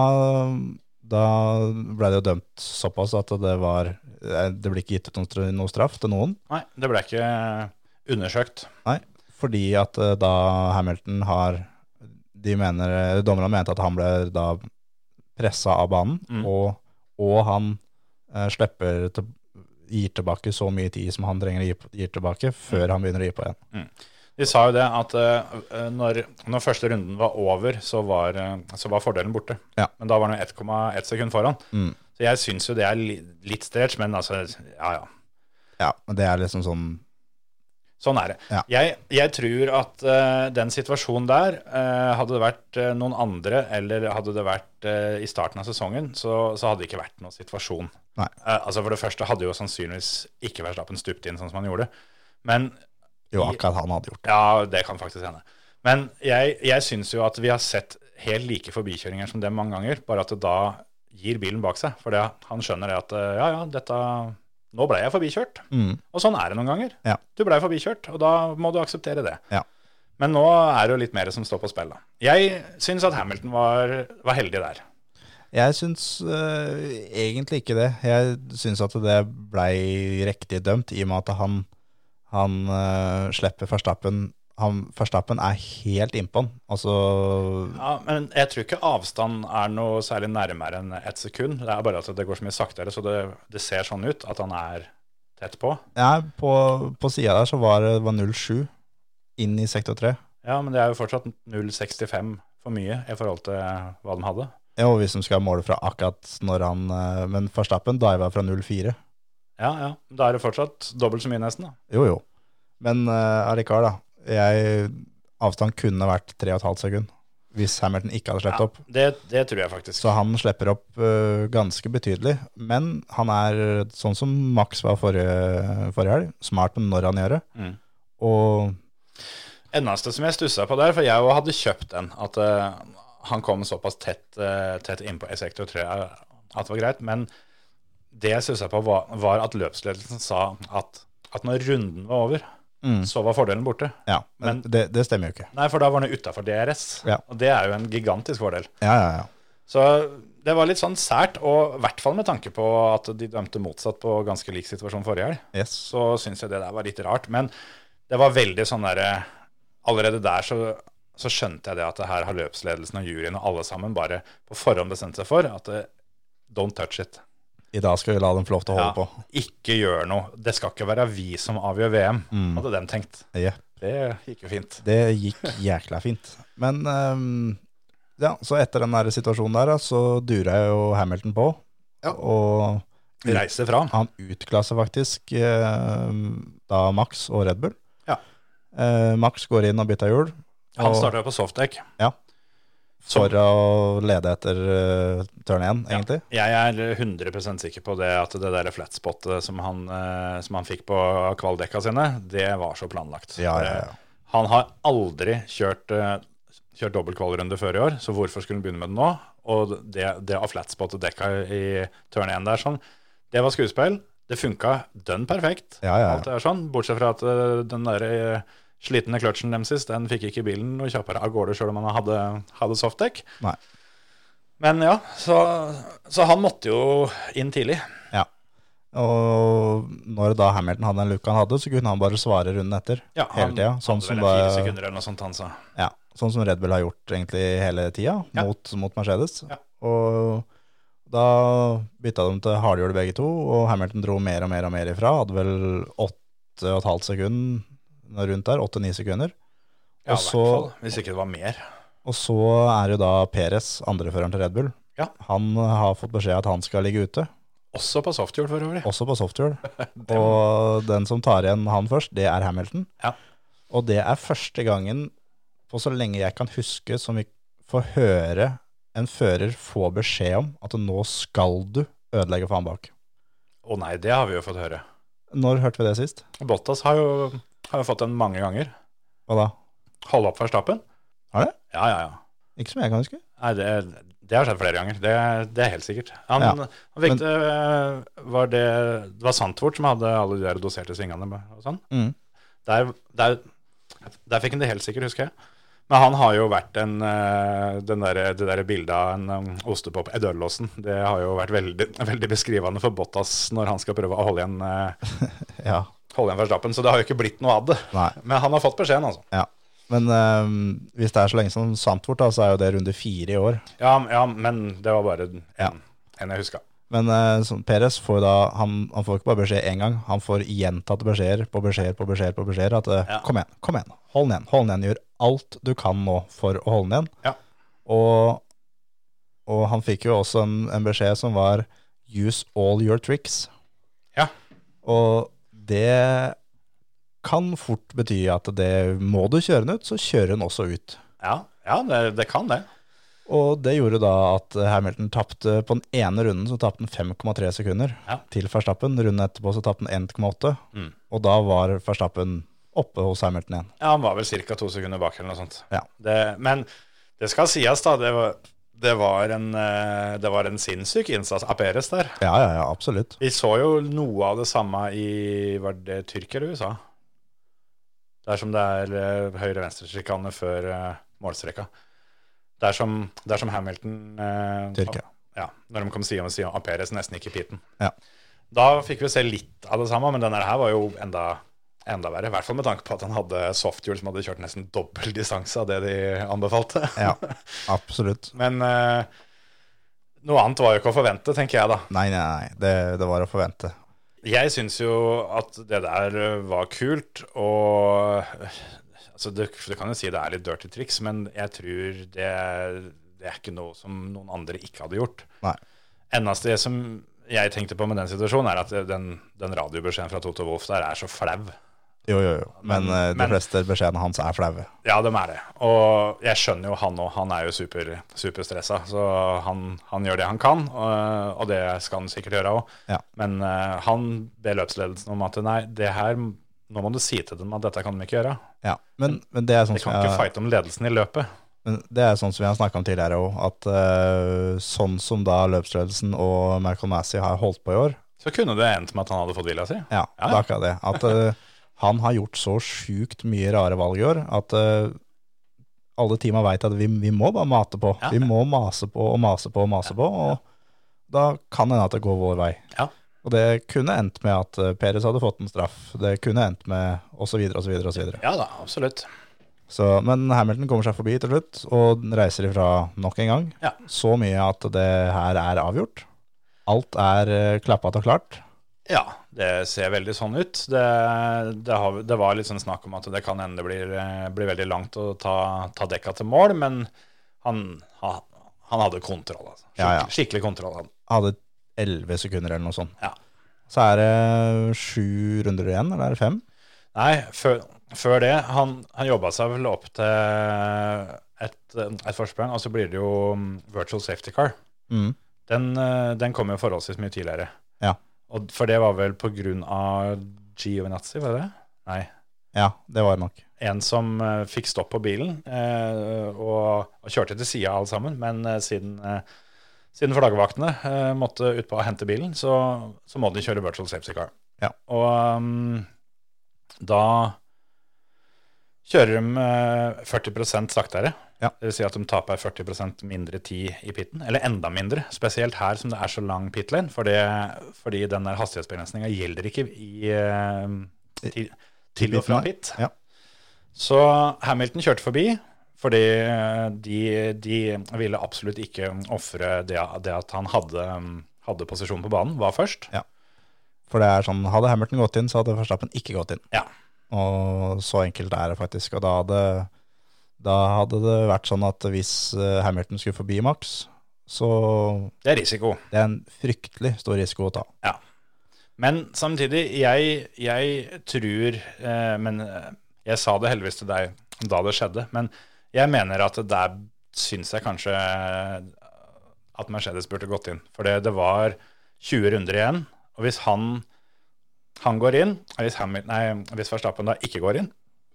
da ble det jo dømt såpass at det var eh, Det ble ikke gitt ut noen- noe straff til noen.
Nei, det ble ikke undersøkt.
Nei, fordi at eh, da Hamilton har de mener, eh, Dommerne mente at han ble da pressa av banen,
Mm.
og, og han eh, slipper til, gir tilbake så mye tid som han trenger å gi gir tilbake, før han begynner å gi på igjen.
De sa jo det at eh, når, når første runden var over, så var, eh, så var fordelen borte.
Ja.
Men da var han jo 1,1 sekund foran.
Mm.
Så jeg syns jo det er li, litt stretch, men altså, ja ja.
Ja, men det er liksom sånn
Sånn er det.
Ja.
Jeg, jeg tror at eh, den situasjonen der, eh, hadde det vært eh, noen andre, eller hadde det vært eh, i starten av sesongen, så, så hadde det ikke vært noen situasjon.
Nei.
Eh, altså For det første hadde jo sannsynligvis ikke Verstappen stupt inn sånn som han gjorde. Men
Jo, akkurat han hadde gjort.
Ja, det kan faktisk hende. Men jeg, jeg syns jo at vi har sett helt like forbikjøringer som dem mange ganger, bare at det da gir bilen bak seg. For det, han skjønner det at eh, ja, ja, dette Nå ble jeg forbikjørt.
Mm.
Og sånn er det noen ganger.
Ja.
Du blei forbikjørt, og da må du akseptere det.
Ja.
Men nå er det jo litt mer som står på spill, da. Jeg syns at Hamilton var, var heldig der.
Jeg syns eh, egentlig ikke det. Jeg syns at det blei riktig dømt, i og med at han, han eh, slipper Verstappen. Han, Verstappen er helt innpå han. Altså
Ja, men jeg tror ikke avstand er noe særlig nærmere enn ett sekund. Det er bare at det går så mye saktere, så det, det ser sånn ut at han er tett på.
ja, På, på sida der så var det var 07 inn i sektor 3.
Ja, men det er jo fortsatt 0,65 for mye i forhold til hva de hadde.
Ja, og hvis de skal måle fra akkurat når han eh, Men Verstappen diva fra 0-4.
Ja, ja. Da er det fortsatt dobbelt så mye, nesten. da.
Jo, jo. Men eh, allikevel, da. Jeg, avstand kunne vært 3,5 sekund hvis Hamilton ikke hadde sluppet opp.
Ja, det, det tror jeg faktisk.
Så han slipper opp eh, ganske betydelig. Men han er sånn som Max var forrige, forrige helg, smart på når han gjør det.
Mm.
Og
Eneste som jeg stussa på der, for jeg òg hadde kjøpt den, at eh, han kom såpass tett, uh, tett innpå i sektor, tror jeg at det var greit. Men det jeg stussa på, var, var at løpsledelsen sa at, at når runden var over,
Mm.
så var fordelen borte.
ja,
Men-
men, det, det stemmer jo ikke.
Nei, for da var den utafor DRS,
Ja.
og det er jo en gigantisk fordel.
Ja, ja, ja.
Så det var litt sånn sært, og i hvert fall med tanke på at de dømte motsatt på ganske lik situasjon forrige helg.
Yes.
så syns jeg det der var litt rart. Men det var veldig sånn derre Allerede der så, så skjønte jeg det at det her har løpsledelsen og juryen og alle sammen bare på forhånd bestemt seg for at eh, don't touch it.
I dag skal vi la dem få lov til å holde på.
Ikke gjør noe. Det skal ikke være vi som avgjør VM,
Mm.
hadde de tenkt.
Jepp.
Det gikk jo fint.
Det <laughs> gikk jækla fint. Men ehm, ja, så etter den der situasjonen der, da, så dura jo Hamilton på. Og
Vi reiser fra.
han utklasser faktisk ehm, da Max og Red Bull.
Ja.
Eh, Max går inn og bytter hjul
Han
og-
starta på softdeck.
for å lede etter uh, turn 1, egentlig.
Jeg er 100 sikker på det at det der flatspottet som han, eh, som han fikk på kvaldekka sine, det var så planlagt. Eh,
Ja, ja, ja.
Han har aldri kjørt, eh, kjørt dobbeltkvalrunde før i år, så hvorfor skulle han begynne med det nå? Og det, det av flatspottet dekka i turn 1 der, sånn, det var skuespill. Det funka dønn perfekt,
Ja, ja, ja.
alt det er sånn, bortsett fra at eh, den der eh, slitne kløtsjen dem sist, den fikk ikke bilen noe kjappere av gårde sjøl om han hadde, hadde softdekk.
Nei.
Men ja, så, så han måtte jo inn tidlig.
Ja. Og når da Hamilton hadde den luka han hadde, så kunne han bare svare runden etter.
Ja,
hele
han
tida. Sånn,
hadde
som
vel en fire
da-
sekunder eller noe sånt han sa.
ja, sånn som Red Bull har gjort egentlig hele tida,
Ja.
mot, mot Mercedes.
Ja.
Og da bytta de til hardhjul begge to, og Hamilton dro mer og mer og mer ifra. Hadde vel 8,5 sekunder rundt der, 8-9 sekunder.
Ja, i
Og
hvert
så-
fall, Hvis ikke det var mer.
Og så er jo da Perez, andreføreren til Red Bull.
Ja.
Han har fått beskjed at han skal ligge ute,
Også på softhjul for øvrig.
også på softhjul. og den som tar igjen han først, det er Hamilton.
Ja.
Og det er første gangen på så lenge jeg kan huske som vi får høre en fører få beskjed om at nå skal du ødelegge for han bak.
Å nei, det har vi jo fått høre.
Når hørte vi det sist?
Bottas har jo, har jo fått den mange ganger.
Hva da?
Holde opp Verstappen.
Har det?
Ja, ja, ja.
Ikke som jeg kan huske.
Nei, det, det har skjedd flere ganger. Det, det er helt sikkert. Han,
Ja,
han fikk det, eh, var det, det var Sandtvort som hadde alle de der doserte svingene med- og sånn.
Mm.
Der, der, der fikk han det helt sikkert, husker jeg. Men han har jo vært en, eh, den der, det der bildet av en um, ostepop i dørlåsen. Det har jo vært veldig, <laughs> veldig beskrivende for Bottas når han skal prøve å holde igjen, eh,
Ja.
holde igjen Verstappen. Så det har jo ikke blitt noe av det.
Nei.
Men han har fått beskjeden, altså.
Ja. Men eh, hvis det er så lenge som Sandfort, da, så er jo det runde fire i år.
Ja, ja men det var bare en,
Ja.
en jeg huska.
Men eh, så Perez får jo da han, han får ikke bare beskjed én gang, han får gjentatte beskjeder på beskjeder på beskjeder. på beskjeder At eh,
Ja.
kom igjen, kom igjen, hold den igjen. Hold den igjen. Gjør alt du kan nå for å holde den igjen.
Ja.
Og, og han fikk jo også en, en beskjed som var use all your tricks.
Ja.
Og det kan fort bety at det må du kjøre den ut, så kjører den også ut.
Ja, ja det, det kan det.
Og det gjorde da at Hamilton tapte på den ene runden så tapte han 5,3 sekunder
Ja.
til Verstappen. Runden etterpå så tapte han 1,8.
Mm.
Og da var Verstappen oppe hos Hamilton igjen.
Ja, han var vel ca. to sekunder bak eller noe sånt.
Ja.
Det, men det skal sies, da. Det var, det var, en, eh, det var en sinnssyk innsats av Peres der.
Ja, ja, ja, absolutt.
Vi så jo noe av det samme i var det Tyrkia eller USA? Dersom det er eh, høyre-venstre-sjikane før eh, målstreka. Dersom, dersom Hamilton eh,
Tyrkia.
Ja, når de kom side om side, og Perez nesten gikk i piten.
Ja.
Da fikk vi se litt av det samme, men denne her var jo enda, enda verre. I hvert fall med tanke på at han hadde softhjul som hadde kjørt nesten dobbel distanse av det de anbefalte. <laughs>
Ja, absolutt.
men eh, noe annet var jo ikke å forvente, tenker jeg da.
Nei, nei, nei, det, det var å forvente.
Jeg syns jo at det der var kult, eh, og Altså, det, for det kan jo si det er litt dirty triks, men jeg tror det, det er ikke noe som noen andre ikke hadde gjort.
Nei.
Eneste som jeg tenkte på med den situasjonen, er at den, den radiobeskjeden fra Toto Wolff der er så flau.
Jo, jo, jo. Men,
Men-
eh, de
men-
fleste beskjedene hans er flaue.
Ja, dem er det. Og jeg skjønner jo han òg. Han er jo super, superstressa, så han, han gjør det han kan. Og, og det skal han sikkert gjøre òg.
Ja.
Men eh, han ber løpsledelsen om at nei, det her, nå må du si til dem at dette kan de ikke gjøre.
Ja. Men, men det er sånn
De
som
kan ikke
jeg,
fighte om ledelsen i løpet.
men det er sånn som vi har snakka om tidligere òg, at eh, sånn som da løpsledelsen og Malcolm Massey har holdt på i år,
Så kunne det endt med at han hadde fått vilja si. Ja,
Ja,
ja.
det er akkurat det. At eh, han har gjort så sjukt mye rare valg i år at eh, alle teama veit at vi, vi må bare mate på.
Ja.
Vi må mase på og mase på og mase på, og da kan det hende at det går vår vei.
Ja.
Og det kunne endt med at eh, Peres hadde fått en straff. Det kunne endt med osv., osv., osv.
Ja da, absolutt.
Så, men Hamilton kommer seg forbi til slutt, og reiser ifra nok en gang.
Ja.
Så mye at det her er avgjort. Alt er eh, klappet og klart.
Ja, det ser veldig sånn ut. Det, det, har, det var litt sånn snakk om at det kan hende det blir, eh, blir veldig langt å ta, ta dekka til mål, men han, han, han hadde kontroll. Altså. Skikkelig,
Ja, ja.
skikkelig kontroll. Han.
hadde 11 sekunder eller noe sånt.
Ja.
Så er det sju runder igjen, eller er det fem?
Nei, før, før det, han, han jobba seg vel opp til et, et forsprang, og så blir det jo mm, virtual safety car.
Mm.
Den, eh, den kom jo forholdsvis mye tidligere.
Ja.
Og, for det var vel på grunn av Giovinazzi, var det det? Nei.
Ja, det var det nok.
en som eh, fikk stopp på bilen eh, og, og kjørte til sida alle sammen, men eh, siden, eh, siden flaggvaktene eh, måtte utpå og hente bilen, så, så må de kjøre virtual safety car.
Ja.
Og um, da kjører de eh, 40 saktere.
Ja.
Det vil si at de taper 40 mindre tid i pitten, eller enda mindre. Spesielt her som det er så lang pitlane, fordi, fordi den der hastighetsbegrensninga gjelder ikke i, eh, til, til og fra
pitten, nei.
pit.
Ja.
Så Hamilton kjørte forbi, fordi eh, de, de ville absolutt ikke ofre det, det at han hadde, hadde posisjon på banen, var først.
Ja. For det er sånn, hadde Hamilton gått inn, så hadde Verstappen ikke gått inn.
Ja.
Og så enkelt er det faktisk. Og da hadde, da hadde det vært sånn at hvis eh, Hamilton skulle forbi Max, så
Det er risiko.
det er en fryktelig stor risiko å ta.
Ja. Men samtidig, jeg, jeg tror eh, Men eh, jeg sa det heldigvis til deg da det skjedde, men jeg mener at der syns jeg kanskje at Mercedes burde gått inn. For det, det var 20 runder igjen, og hvis han, han går inn, og hvis, Hamil- nei, hvis Verstappen da ikke går inn,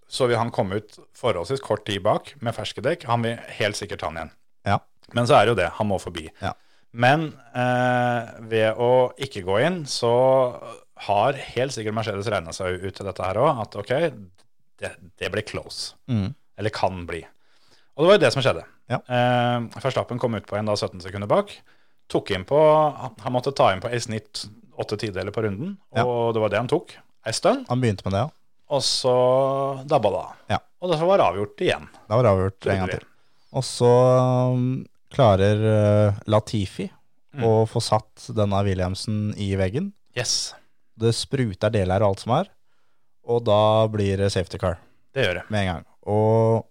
så vil han komme ut forholdsvis kort tid bak med ferske dekk. Han vil helt sikkert ta han igjen.
Ja.
Men så er det jo det, han må forbi.
Ja.
Men eh, ved å ikke gå inn, så har helt sikkert Mercedes regna seg ut til dette her òg, at ok, det, det blir close.
Mm.
Eller kan bli. Og det var jo det som skjedde.
Ja.
Eh, Verstappen kom ut på en da 17 sekunder bak. Tok inn på, Han måtte ta inn på i snitt åtte tideler på runden, og det var det han tok. Ei stund,
Han begynte med det, ja.
og så dabba det av.
Ja.
Og det var avgjort igjen.
Da var det avgjort en gang til. Og så um, klarer eh, Latifi å få satt denne Williamsen i veggen.
Yes,
Det spruter deler og alt som er. Og da blir det safety car
det gjør det.
med en gang. Og,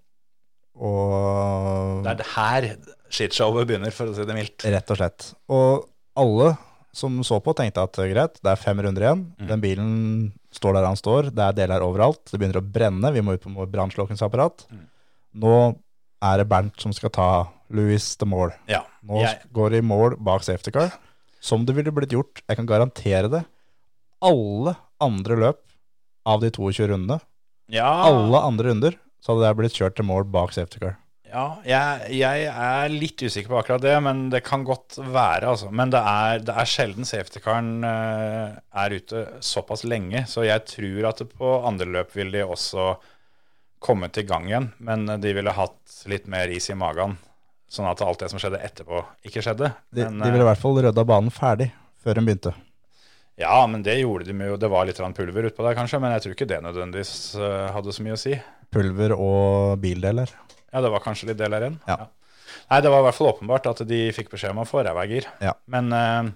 og
Det er det her shitshowet begynner, for å si det mildt.
rett og slett. Og alle som så på, tenkte at eh, greit, det er fem runder igjen.
Mm.
Den bilen står der han står. Det er deler overalt. Det begynner å brenne. Vi må ut på brannslukkingsapparat.
Mm.
Nå er det Bernt som skal ta Louis til mål.
Ja.
Nå
Jeg,
går de i mål bak safety car. Som det ville blitt gjort, jeg kan garantere det. Alle andre løp av de 22 rundene,
ja,
alle andre runder, så hadde det blitt kjørt til mål bak safety car.
ja jeg, jeg er litt usikker på akkurat det, men det kan godt være. Altså. Men det er, det er sjelden safety-karen eh, er ute såpass lenge, så jeg tror at på andre løp vil de også komme til gang igjen, men de ville hatt litt mer is i magen, sånn at alt det som skjedde etterpå, ikke skjedde.
De,
Men, eh,
de ville i hvert fall rydda banen ferdig før den begynte.
Ja, men det gjorde de jo. Det var litt grann pulver utpå der, kanskje, men jeg tror ikke det nødvendigvis eh, hadde så mye å si.
Pulver og bildeler.
Ja, det var kanskje litt deler igjen.
Ja.
Nei, det var i hvert fall åpenbart at de fikk beskjed om å få ræva i gir.
Ja.
Men eh,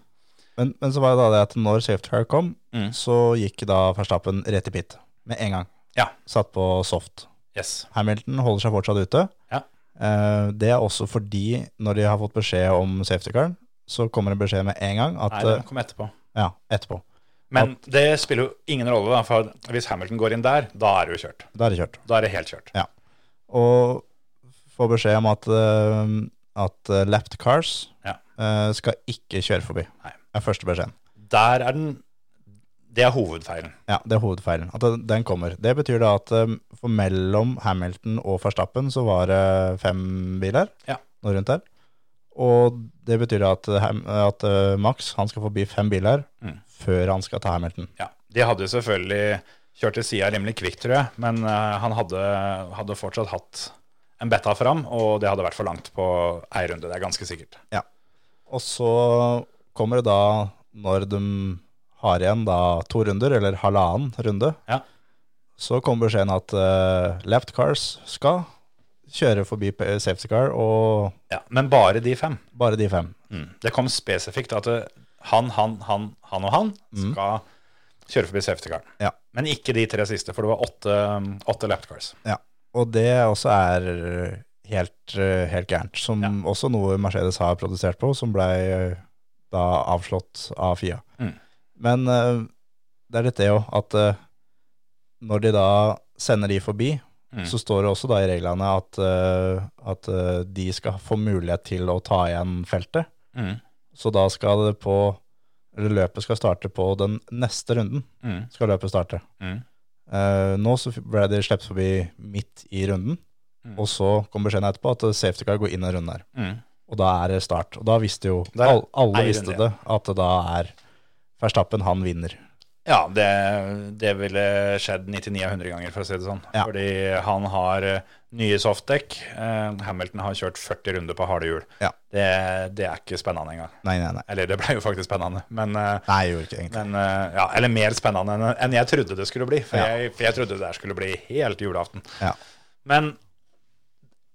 Men, men så var det da det at når safety car kom,
Mm.
så gikk da Verstappen rett i pit med en gang.
Ja.
Satt på soft.
Yes.
Hamilton holder seg fortsatt ute.
Ja.
Eh, det er også fordi når de har fått beskjed om safety car, så kommer det beskjed med en gang at
Nei, den kom etterpå.
eh, Ja, etterpå.
Men det spiller jo ingen rolle, da, for hvis Hamilton går inn der, da er det jo kjørt.
Da er det kjørt.
Da er det helt kjørt.
Og får beskjed om at, eh, at eh, lapped cars
Ja.
eh, skal ikke kjøre forbi.
Nei.
Det er første beskjeden.
Der er den Det er hovedfeilen.
Ja, det er hovedfeilen. At den- den kommer. Det betyr da at eh, for mellom Hamilton og Verstappen så var det fem biler.
Ja.
Noe rundt der. Og det betyr da at, Ham- at eh, Max han skal forbi fem biler
Mm.
før han skal ta Hamilton.
Ja. De hadde jo selvfølgelig kjørt til sida rimelig kvikt, tror jeg, men eh, han hadde, hadde fortsatt hatt en betta fram, og det hadde vært for langt på ei runde. Det er ganske sikkert.
Og så kommer det da, når de har igjen da to runder, eller halvannen runde,
Ja.
så kommer beskjeden at eh, left cars skal kjøre forbi p- safety car, og
Ja, men bare de fem.
bare de fem.
Mm. Det kom spesifikt at eh, han, han, han, han og han skal kjøre forbi safety caren.
Mm. Ja.
Men ikke de tre siste, for det var åtte, um, åtte lap cars.
Ja. Og det også er helt, eh, helt gærent, som også noe Mercedes har produsert på, som ble eh, da avslått av FIA.
Mm.
Men eh, det er litt det jo, at eh, når de da sender de forbi,
Mm.
så står det også da i reglene at, eh, at eh, de skal få mulighet til å ta igjen feltet.
Mm.
Så da skal det på, eller løpet skal starte på den neste runden,
Mm.
skal løpet starte.
Mm.
Eh, nå så ble de slept forbi midt i runden, og så kom beskjeden etterpå at safety car går inn i runden her.
Mm.
Og da er det start. Og da visste jo,
Da er
all,
det
alle
ei
visste
runde, ja.
det, at det da er Verstappen, han vinner.
Ja, det, det ville skjedd 99 av 100 ganger, for å si det sånn.
Ja.
Fordi han har eh, nye softdekk. Eh, Hamilton har kjørt 40 runder på harde hjul.
Ja.
Det, det er ikke spennende engang.
Nei, nei, nei.
Eller det ble jo faktisk spennende, men, eh,
Nei, gjorde ikke egentlig.
men eh, ja, Eller mer spennende enn, enn jeg trodde det skulle bli. For,
Ja.
jeg, for jeg trodde det der skulle bli helt julaften.
Ja.
Men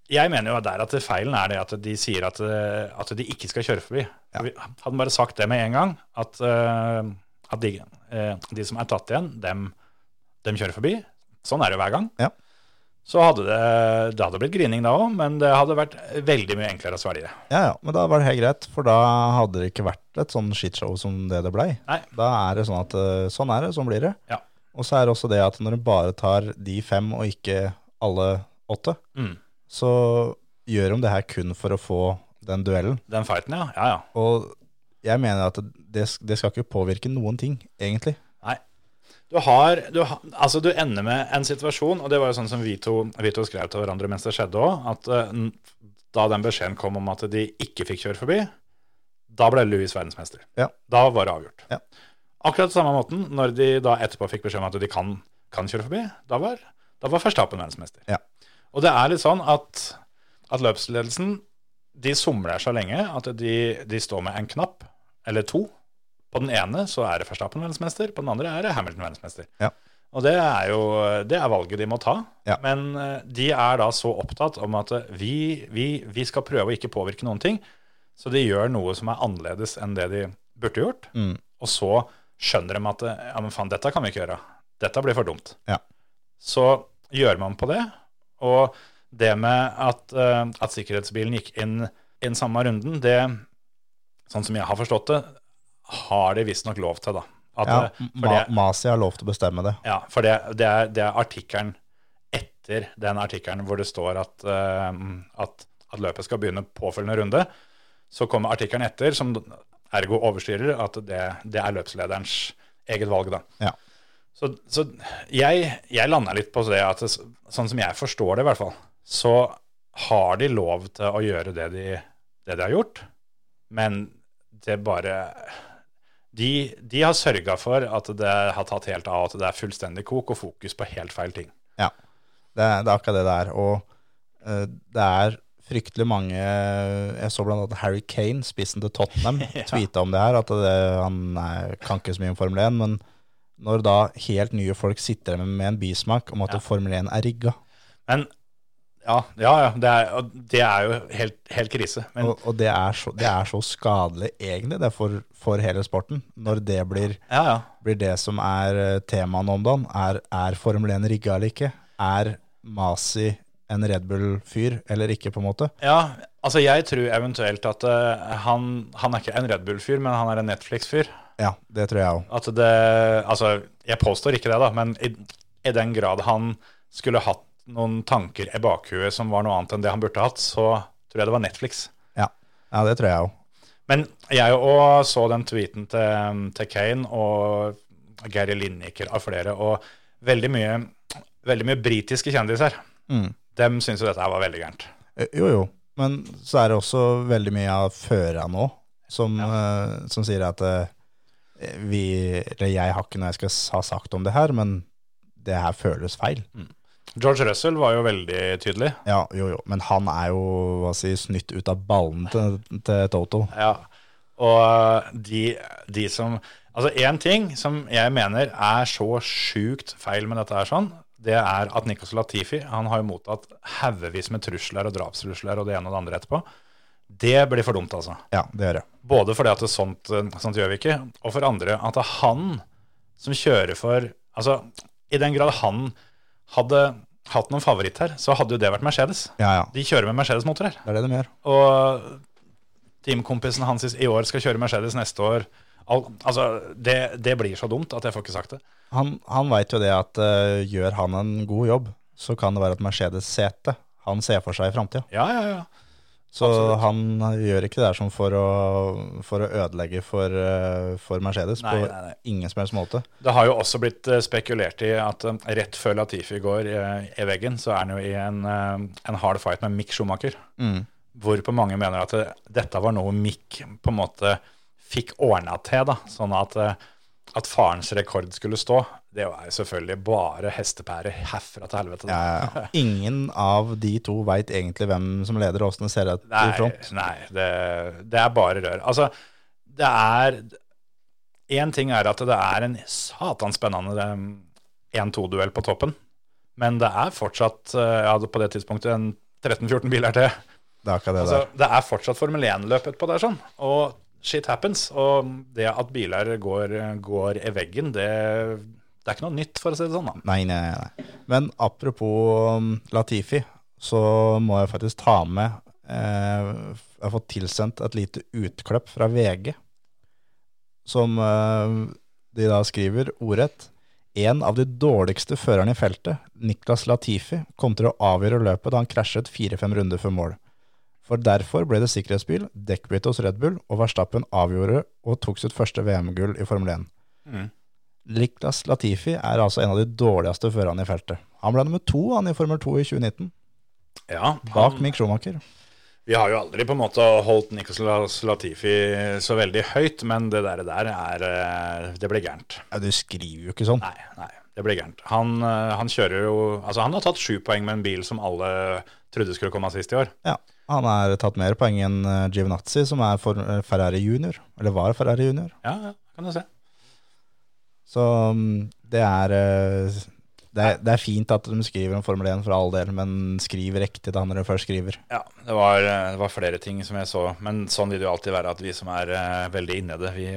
jeg mener jo der at feilen er det at de sier at, eh, at de ikke skal kjøre forbi.
Ja.
Vi- Hadde de bare sagt det med en gang, at, eh, at de, eh, de som er tatt igjen, dem, dem kjører forbi. Sånn er det jo hver gang.
Ja.
Så hadde det, det hadde blitt grining da òg, men det hadde vært veldig mye enklere å svelge.
Ja, ja, men da var det helt greit, for da hadde det ikke vært et sånn shitshow som det det blei.
Nei.
Da er det sånn at eh, sånn er det, sånn blir det.
Ja.
Og så er det også det at når du bare tar de fem og ikke alle åtte,
Mm.
så gjør de det her kun for å få den duellen.
Den fighten, ja. Ja, ja.
Og jeg mener at det, det skal ikke påvirke noen ting, egentlig.
Nei. Du har, du, ha- altså du ender med en situasjon, og det var jo sånn som vi to, vi to skrev til hverandre mens det skjedde òg, at eh, n- da den beskjeden kom om at de ikke fikk kjøre forbi, da ble Louis verdensmester.
Ja.
Da var det avgjort.
Ja.
Akkurat samme måten, når de da etterpå fikk beskjed om at de kan, kan kjøre forbi, da var, da var Verstappen verdensmester.
Ja.
Og det er litt sånn at, at løpsledelsen de somler så lenge at de, de står med en knapp, eller to. På den ene så er det Verstappen verdensmester, på den andre er det Hamilton verdensmester.
Ja.
Og det er jo det er valget de må ta.
Ja.
Men eh, de er da så opptatt om at eh, vi, vi, vi skal prøve å ikke påvirke noen ting, så de gjør noe som er annerledes enn det de burde gjort.
Mm.
Og så skjønner de at eh, ja, men faen, dette kan vi ikke gjøre. Dette blir for dumt.
Ja.
Så gjør man på det. Og det med at, eh, at sikkerhetsbilen gikk inn inn samme runden, det, sånn som jeg har forstått det, har de visstnok lov til, da. At,
Ja,
eh, for
Ma
det,
Masi har lov til å bestemme det.
ja, for det, det er, det er artikkelen etter den artikkelen hvor det står at, eh, at, at løpet skal begynne påfølgende runde. Så kommer artikkelen etter, som ergo overstyrer, at det, det er løpslederens eget valg. da.
Ja.
Så, så jeg, jeg lander litt på det at det, sånn som jeg forstår det, i hvert fall, så har de lov til å gjøre det de, det de har gjort, men det bare De, de har sørga for at det har tatt helt av, at det er fullstendig kok og fokus på helt feil ting.
Ja, det er, det er akkurat det det er. Og eh, det er fryktelig mange Jeg så blant annet Harry Kane, spissen til
<laughs>
Tottenham, ja. tweeta om det her. At det, han er, kan ikke så mye om Formel 1. Men når da helt nye folk sitter med, med en bismak om at Formel 1 er rigga,
Men ja, ja, ja det, er, og det er jo helt, helt krise. Men
og, og det, er så, det er så skadelig egentlig, det er for, for hele sporten, når det blir,
ja, ja.
blir det som er eh, temaet nå om dagen, er, er Formel 1 rigga eller ikke? Er Masi en Red Bull-fyr eller ikke, på en måte.
Ja, altså jeg tror eventuelt at eh, han, han er ikke en Red Bull-fyr, men han er en Netflix-fyr.
Ja, det tror jeg òg.
At det Altså, jeg påstår ikke det, da, men i, i den grad han skulle hatt noen tanker i bakhuet som var noe annet enn det han burde hatt, så tror jeg det var Netflix.
Ja. ja, det tror jeg òg.
Men jeg òg så den tweeten til, um, til Kane og Gary Lineker av flere, og veldig mye, veldig mye britiske kjendiser. Dem syns jo dette her var veldig gærent.
Eh, Jo, jo. Men så er det også veldig mye av føra nå som, eh, som sier at eh, vi Eller jeg har ikke noe jeg skal s- ha sagt om det her, men det her føles feil.
George Russell var jo veldig tydelig.
Ja, jo, jo. Men han er jo hva si, snytt ut av ballen til, til Toto.
Ja. Og de, de som Altså, én ting som jeg mener er så sjukt feil med dette her, sånn, det er at Nikos Latifi han har jo mottatt haugevis med trusler og drapstrusler og det ene og det andre etterpå. Det blir for dumt, altså.
Ja, det gjør jeg.
Både fordi at det sånt, sånt gjør vi ikke, og for andre at det er han som kjører for Altså, i den grad han hadde hatt noen favoritt her, så hadde jo det vært Mercedes.
Ja, ja.
De kjører med Mercedes-motor her.
Det er det de gjør.
Og teamkompisen hans i år skal kjøre Mercedes neste år. Al altså, det, det blir så dumt at jeg får ikke sagt det.
Han, han veit jo det at eh, gjør han en god jobb, så kan det være et Mercedes-sete han ser for seg i framtida.
Ja, ja, ja.
Så han eh, gjør ikke det der som for å, for å ødelegge for, eh, for Mercedes
Nei,
på
nei, nei.
ingen som helst måte.
Det har jo også blitt eh, spekulert i at eh, rett før Latifi går eh, i veggen, så er han jo i en, eh, en hard fight med Mick Schumacher.
Mm.
Hvorpå mange mener at eh, dette var noe Mick på en måte fikk ordna til, da, sånn at, eh, at farens rekord skulle stå. Det er jo selvfølgelig bare hestepære herfra til helvete. da.
Ja, ja, ja. Ingen av de to veit egentlig hvem som leder og åssen det ser ut i
Nei,
front.
nei det, det er bare rør. Altså, det er Én ting er at det er en satans spennende 1-2-duell på toppen, men det er fortsatt eh, Jeg hadde på det tidspunktet en 13-14 biler til.
Det er akkurat det
Altså, det er fortsatt Formel 1-løp utpå der, sånn. Og shit happens. Og det at biler går, går i veggen, det, det er ikke noe nytt, for å si det sånn. da.
der. Nei, nei, nei. Men apropos um, Latifi, så må jeg faktisk ta med eh, Jeg har fått tilsendt et lite utklipp fra VG, som eh, de da skriver ordrett. En av de dårligste førerne i feltet, Niklas Latifi, kom til å avgjøre løpet da han krasjet fire-fem runder før mål. For derfor ble det sikkerhetsbil, dekkbytte hos Red Bull, og Verstappen avgjorde og tok sitt første VM-gull i Formel 1. Niklas Latifi er altså en av de dårligste førerne i feltet. Han ble nummer to han i Formel 2 i 2019,
Ja,
bak Mick Schumacher.
Vi har jo aldri på en måte holdt Nicolas Latifi så veldig høyt, men det der, der er eh, Det blir gærent.
Ja, du skriver jo ikke sånn.
Nei, nei, det blir gærent. Han, eh, han kjører jo Altså, han har tatt sju poeng med en bil som alle trodde skulle komme sist i år.
Ja, han er tatt mer poeng enn eh, Giovinazzi, som er for eh, Ferrari junior, eller var Ferrari junior.
Ja, ja, kan du se.
Så mm, det er eh, det er, det er fint at de skriver om Formel 1 for all del, men skriv riktig da når de først skriver.
Ja, det var, eh, det var flere ting som jeg så, men sånn vil det jo alltid være at vi som er eh, veldig inne i det, vi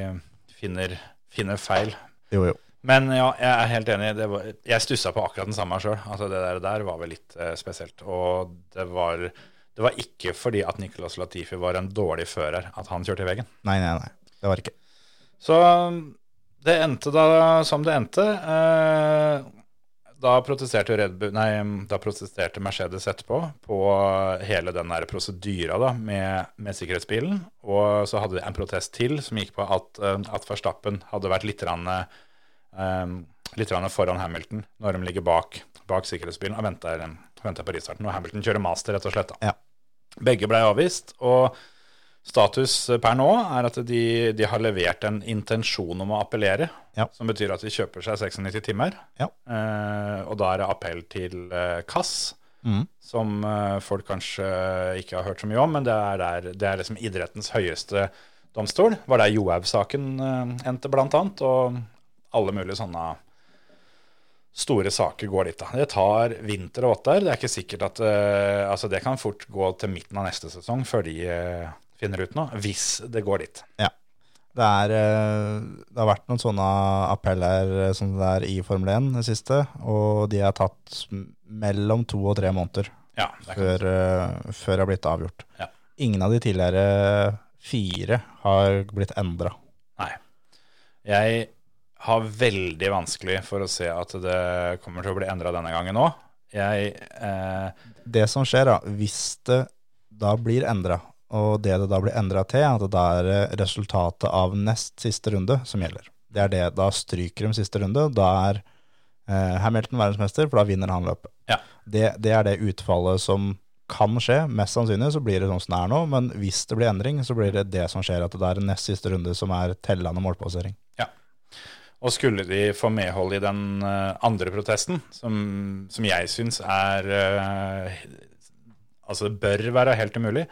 finner, finner feil.
Jo, jo.
Men ja, jeg er helt enig. Det var, jeg stussa på akkurat den samme sjøl. Altså, det der, der var vel litt eh, spesielt. Og det var, det var ikke fordi at Nicolas Latifi var en dårlig fører at han kjørte i veggen.
Nei, nei, nei. Det var ikke.
Så um, det endte da som det endte. Eh, Da protesterte, jo Red Bull, nei, um, da protesterte Mercedes etterpå på hele den der prosedyra da, med, med sikkerhetsbilen. Og så hadde de en protest til som gikk på at, eh, at Verstappen hadde vært litt, rann, eh, litt rann foran Hamilton når de ligger bak, bak sikkerhetsbilen og venter, venter på restarten. Og Hamilton kjører master, rett og slett. Da.
Ja.
Begge ble avvist. og... Status eh, per nå er at de, de har levert en intensjon om å appellere,
Ja.
som betyr at de kjøper seg 96 timer.
Ja.
Eh, og da er det appell til eh, KASS,
Mhm.
som eh, folk kanskje ikke har hørt så mye om, men det er, der, det er liksom idrettens høyeste domstol. Var der Johaug-saken eh, endte, blant annet, og alle mulige sånne store saker går dit. da. Det tar vinter og åtte her. Det er ikke sikkert at eh, altså Det kan fort gå til midten av neste sesong før de eh, finner ut noe, hvis det går dit.
Det, er, eh, det har vært noen sånne appeller eh, som det er i Formel 1 det siste, og de er tatt mellom to og tre måneder
Ja, det er
før, eh, før det har blitt avgjort.
Ja.
Ingen av de tidligere fire har blitt endra.
Nei. Jeg har veldig vanskelig for å se at det kommer til å bli endra denne gangen òg. Jeg eh,
Det som skjer, da, hvis det da blir endra, og det det da blir endra til, er at det da er eh, resultatet av nest siste runde som gjelder. Det er det, Da stryker de siste runde. Da er eh, Hamilton verdensmester, for da vinner han løpet.
Ja.
Det, det er det utfallet som kan skje. Mest sannsynlig så blir det sånn som det er nå, men hvis det blir endring, så blir det det som skjer, at det er nest siste runde som er tellende målpassering.
Og skulle de få medhold i den eh, andre protesten, som, som jeg syns er eh, Altså det bør være helt umulig,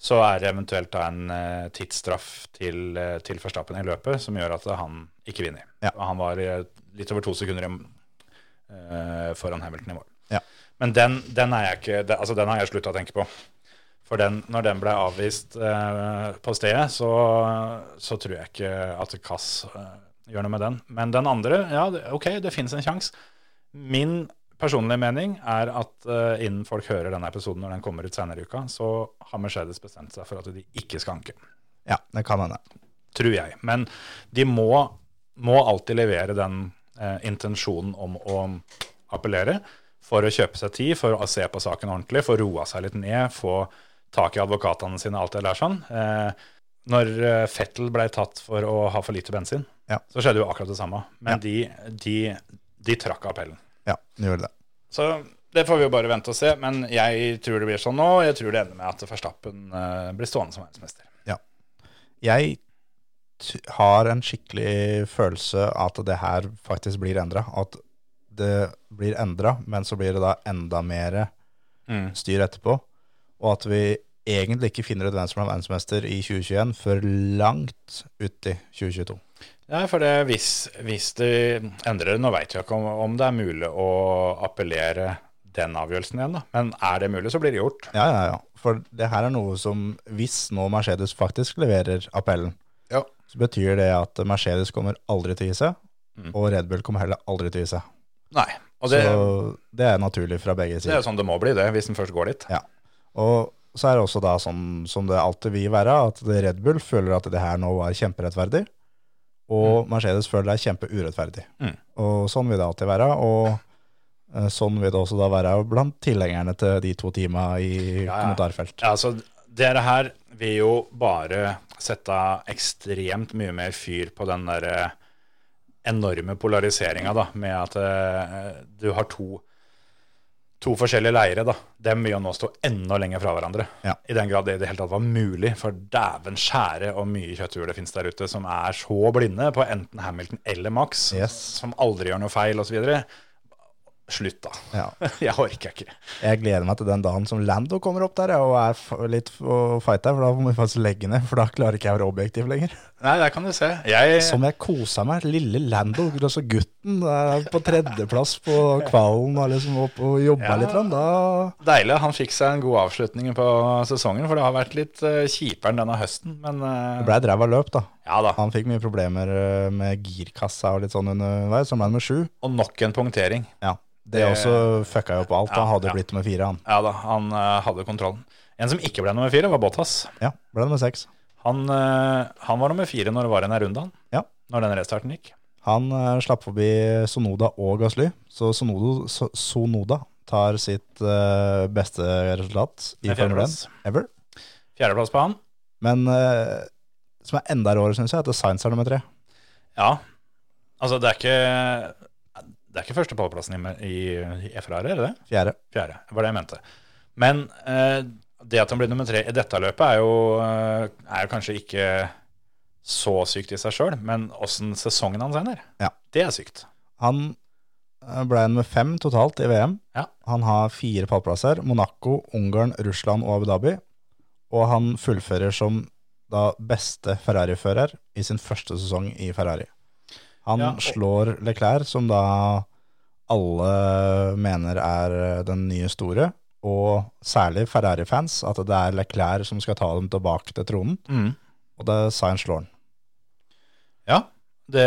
så er det eventuelt da en eh, tidsstraff til, eh, til Verstappen i løpet som gjør at han ikke vinner.
Ja.
Og Han var eh, litt over to sekunder i- eh, foran Hamilton i mål.
Ja.
Men den, den, er jeg ikke, det- altså den har jeg slutta å tenke på. For den, når den ble avvist eh, på stedet, så, så tror jeg ikke at Kass eh, gjør noe med den. Men den andre, ja, det, ok, det finnes en sjanse. Min personlige mening er at eh, innen folk hører denne episoden når den kommer ut senere i uka, så har Mercedes bestemt seg for at de ikke skal anke.
Ja, det kan hende.
Tror jeg. Men de må, må alltid levere den eh, intensjonen om å appellere for å kjøpe seg tid, for å se på saken ordentlig, få roa seg litt ned, få tak i advokatene sine, alt det der sånn. Eh, når eh, Fettel ble tatt for å ha for lite bensin,
Ja.
så skjedde jo akkurat det samme. Men de, de, de trakk appellen.
Ja, det gjør det.
Så det får vi jo bare vente og se. Men jeg tror det blir sånn nå. og Jeg tror det ender med at Verstappen eh, blir stående som verdensmester.
jeg t- har en skikkelig følelse at det her faktisk blir endra. At det blir endra, men så blir det da enda mer
Mm.
styr etterpå. Og at vi egentlig ikke finner ut hvem som er verdensmester i 2021 før langt uti 2022.
Ja, for det, hvis, hvis det endrer det, nå vet jeg ikke om, om det er mulig å appellere den avgjørelsen igjen, da. Men er det mulig, så blir det gjort.
Ja, ja, ja. For det her er noe som Hvis nå Mercedes faktisk leverer appellen,
Ja.
så betyr det at Mercedes kommer aldri til å gi seg, og Red Bull kommer heller aldri til å gi seg.
Nei. Og Mm. det,
så det er naturlig fra begge sider.
det er jo sånn det må bli, det, hvis den først går dit.
Ja. Og så er det også da sånn som det alltid vil være, at det Red Bull føler at det her nå var kjemperettferdig, og Mercedes føler det er kjempeurettferdig.
Mm.
Og sånn vil det alltid være, og eh, sånn vil det også da være blant tilhengerne til de to timene i
Ja, ja.
kommentarfelt.
Ja, altså, dere her vil jo bare sette ekstremt mye mer fyr på den der eh, enorme polariseringa, da, med at eh, du har to To forskjellige leire, da. Dem vil jo nå stå enda lenger fra hverandre.
Ja.
I den grad det i det hele tatt var mulig, for dæven skjære og mye kjøtthue det finnes der ute som er så blinde på enten Hamilton eller Max,
Yes.
som aldri gjør noe feil osv. Slutt, da.
Ja.
<laughs> Jeg orker ikke.
Jeg gleder meg til den dagen som Lando kommer opp der ja, og er f- litt f- og fighter, for da må vi faktisk legge ned, for da klarer ikke jeg å være objektiv lenger.
Nei, der kan du se. Jeg,
Som jeg kosa meg. Lille Lando, altså gutten, er på tredjeplass på kvalen og liksom opp og jobba
Ja.
litt. grann, Da.
Deilig. Han fikk seg en god avslutning på sesongen, for det har vært litt eh, kjipere enn denne høsten. Men eh,
Det ble et ræva løp, da.
ja da.
Han fikk mye problemer eh, med girkassa og litt sånn underveis, så han ble med sju.
Og nok en punktering.
Ja. Det også fucka jo opp alt.
Ja,
Han hadde
ja.
blitt med fire, han.
Ja da, han eh, hadde kontrollen. En som ikke ble nummer fire, var Bottas.
Ja, ble det med seks.
Han, eh, han var nummer fire når det var en runde, han.
Ja.
Når den restarten gikk.
Han eh, slapp forbi Sonoda og Gasly, så Sonodo, so Sonoda tar sitt eh, beste resultat i
Med
Formel 1
fjerdeplass.
ever.
Fjerdeplass på han.
Men eh, som er enda råere, syns jeg, er at Science er nummer tre.
Ja. Altså, det er ikke Det er ikke første pallplassen i, i, i FRR, er det det?
Fjerde.
Fjerde, var det jeg mente. Men eh, det at han blir nummer tre i dette løpet, er jo, eh, er jo kanskje ikke så sykt i seg sjøl, men åssen sesongen hans ender,
Ja.
det er sykt.
Han eh, ble nummer fem totalt i VM.
Ja.
Han har fire pallplasser. Monaco, Ungarn, Russland og Abu Dhabi. Og han fullfører som da beste Ferrari-fører i sin første sesong i Ferrari. Han
Ja, og-
slår Leclerc, som da alle mener er eh, den nye store, og særlig Ferrari-fans, at det er Leclerc som skal ta dem tilbake til tronen. Og det er Sainz slår han.
Ja, det,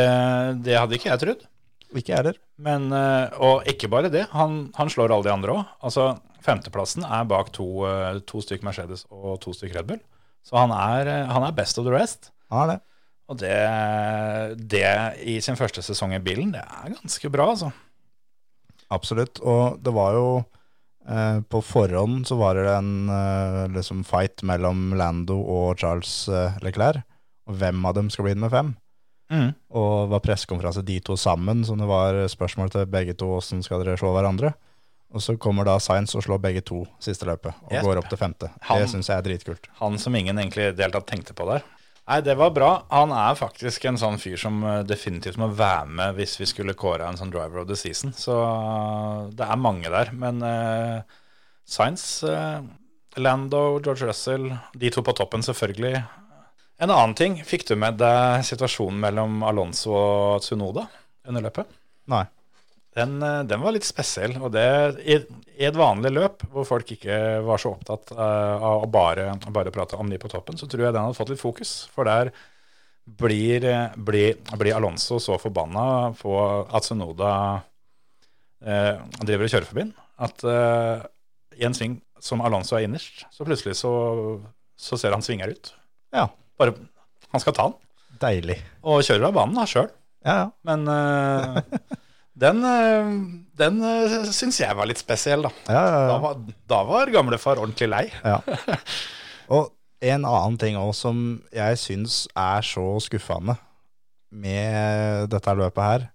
det hadde ikke jeg trodd.
Ikke jeg heller.
Men, eh, og ikke bare det, han, han slår alle de andre òg. Altså, femteplassen er bak to, eh, to stykk Mercedes og to stykk Red Bull. Så han er, eh, han er best of the rest.
Han er det.
Og det, det i sin første sesong i bilen, det er ganske bra, altså.
Absolutt. Og det var jo eh, På forhånd så var det en eh, liksom fight mellom Lando og Charles eh, Leclerc. Og hvem av dem skal bli nummer fem?
Mm.
Og det var pressekonferanse de to sammen, så det var eh, spørsmål til begge to åssen skal dere slå hverandre. Og så kommer da Science og slår begge to siste løpet, og
Yes.
går opp til femte.
Han-
Det syns jeg er dritkult.
Han som ingen egentlig i det hele tatt tenkte på der. Nei, det var bra. Han er faktisk en sånn fyr som eh, definitivt må være med hvis vi skulle kåre en sånn driver of the season. Så eh, det er mange der. Men eh, Sainz, eh, Lando, George Russell, de to på toppen selvfølgelig. En annen ting, fikk du med deg situasjonen mellom Alonso og Tsunoda under løpet?
Nei.
den, eh, den var litt spesiell. Og det i, i et vanlig løp, hvor folk ikke var så opptatt eh, av å bare, bare prate om de på toppen, så tror jeg den hadde fått litt fokus. For der blir, eh, blir, blir Alonso så forbanna på at Sunoda eh, driver og kjører forbi den, at eh, i en sving som Alonso er innerst, så plutselig så, så ser han svinger ut.
Ja,
Bare, han skal ta den,
deilig.
og kjører av banen da sjøl.
Ja, ja.
Men eh, den, uh, den eh, syns jeg var litt spesiell, da.
ja, ja,
Da
ja.
var, da var gamlefar ordentlig lei.
Ja. Og en annen ting også som jeg syns er så skuffende med dette løpet her,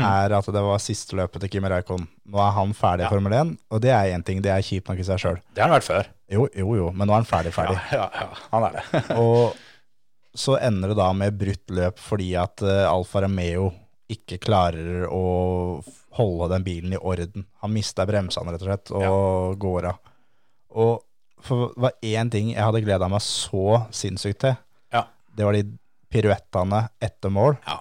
er at det var siste løpet til Kimi Räikkönen. Nå er han ferdig i Formel 1, og det er én ting, det er kjipt nok i seg sjøl.
Det har han vært før.
Jo, jo, jo, men nå er han ferdig,
Ja,
ferdig.
ja, ja, han er det. <laughs>
Og så ender det da med brutt løp fordi at eh, Alfa Romeo ikke klarer å f- holde den bilen i orden. Han mista bremsene rett og slett, og går av. Og for det var én ting jeg hadde gleda meg så sinnssykt til,
Ja.
det var de piruettene etter mål
Ja.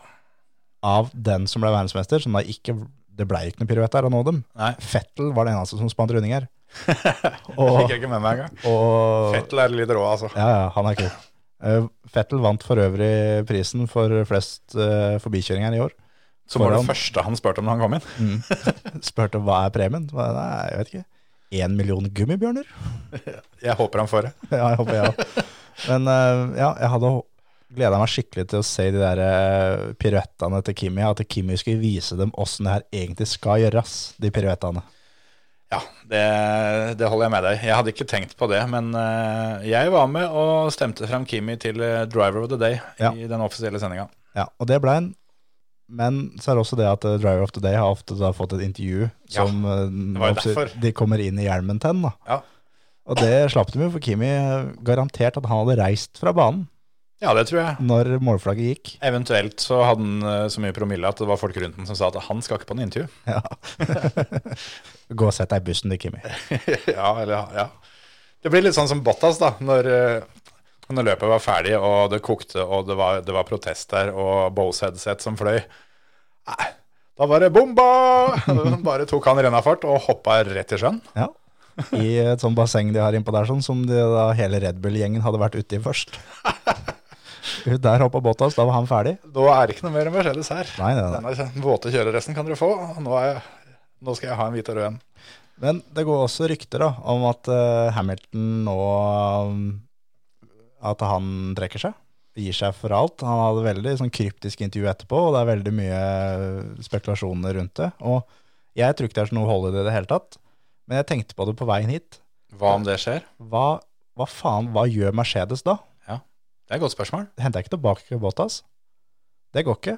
av den som ble verdensmester, som da ikke Det blei ikke noen piruett der å nå dem.
Nei.
Fettel var den eneste som spant rundinger.
Det
Og,
fikk jeg ikke med meg engang.
og
Fettel er litt rå, altså.
ja, ja, han er kul. Eh, Fettel vant for øvrig prisen for flest eh, forbikjøringer i år. <laughs>
Så var det
Foran.
første han spurte om da han kom inn.
Spurte hva er premien. Hva- Nei, jeg vet ikke. Én million gummibjørner? <laughs>
Jeg håper han får det.
Ja, jeg håper jeg òg. Men eh, ja, jeg hadde gleda meg skikkelig til å se de der eh, piruettene til Kimi. At Kimi skulle vise dem åssen det her egentlig skal gjøres, de piruettene.
Ja, det, det holder jeg med deg i. Jeg hadde ikke tenkt på det, men eh, jeg var med og stemte fram Kimi til eh, driver of the day
Ja.
i den offisielle sendinga.
Ja, og det ble en. Men så er det også det at eh, Driver of the Day har ofte da fått et intervju
Ja,
som eh,
var jo
oppsy-
derfor.
de kommer inn i hjelmen til. den, da.
Ja.
Og det slapp de jo, for Kimi eh, garantert at han hadde reist fra banen
ja, det tror jeg.
når målflagget gikk.
Eventuelt så hadde han eh, så mye promille at det var folk rundt ham som sa at han skal ikke på noe intervju.
Ja. <laughs> Gå og sett deg i bussen, du, Kimi.
<laughs> ja, eller ja. Det blir litt sånn som Bottas, da. Når, eh, når løpet var ferdig, og det kokte, og det var, det var protest der, og Bose headset som fløy. Nei, da var det bomba! <laughs> Bare tok han rennafart og hoppa rett i sjøen.
Ja. I et sånt basseng de har innpå der, sånn, som de, da hele Red Bull-gjengen hadde vært uti
<laughs>
først. Ut Der hoppa Bottas, da var han ferdig.
Da er det ikke noe mer Mercedes her.
Nei, nei, nei.
Denne våte kjøreresten kan dere få. Nå, er jeg, nå skal jeg ha en hvit og rød en.
Men det går også rykter da, om at eh, Hamilton nå um, At han trekker seg. Gir seg for alt. Han hadde veldig sånn, kryptisk intervju etterpå, og det er veldig mye eh, spekulasjoner rundt det. Og jeg tror ikke det er så noe hold i det i det hele tatt. Men jeg tenkte på det på veien hit.
Hva om det skjer?
Hva, hva faen, hva gjør Mercedes da?
Det er et godt spørsmål.
Henter jeg ikke tilbake Bottas? Det går ikke.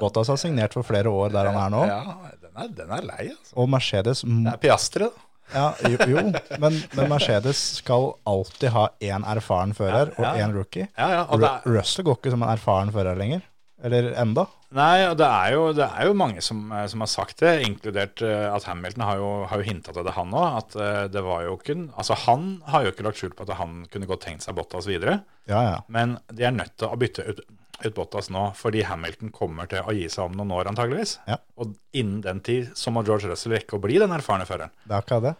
Bottas har signert for flere år der han Ah, er nå.
Ja, den er, den er lei, altså.
Og Mercedes må-
Det er Piastre, da.
Ja, jo, jo. Men, men Mercedes skal alltid ha én erfaren fører og én rookie.
Ja, ja, og det er,
Ru- Russell går ikke som en erfaren fører lenger. Eller enda.
Nei, og det er jo, det er jo mange som, eh, som har sagt det, inkludert eh, at Hamilton har jo, har jo hinta til det, han òg. At eh, det var jo ikke Altså, han har jo ikke lagt skjul på at han kunne godt tenkt seg Bottas videre.
Ja, ja.
Men de er nødt til å bytte ut, ut Bottas nå, fordi Hamilton kommer til å gi seg om noen år, antageligvis.
Ja.
Og innen den tid så må George Russell rekke å bli den erfarne føreren.
Det er akkurat det.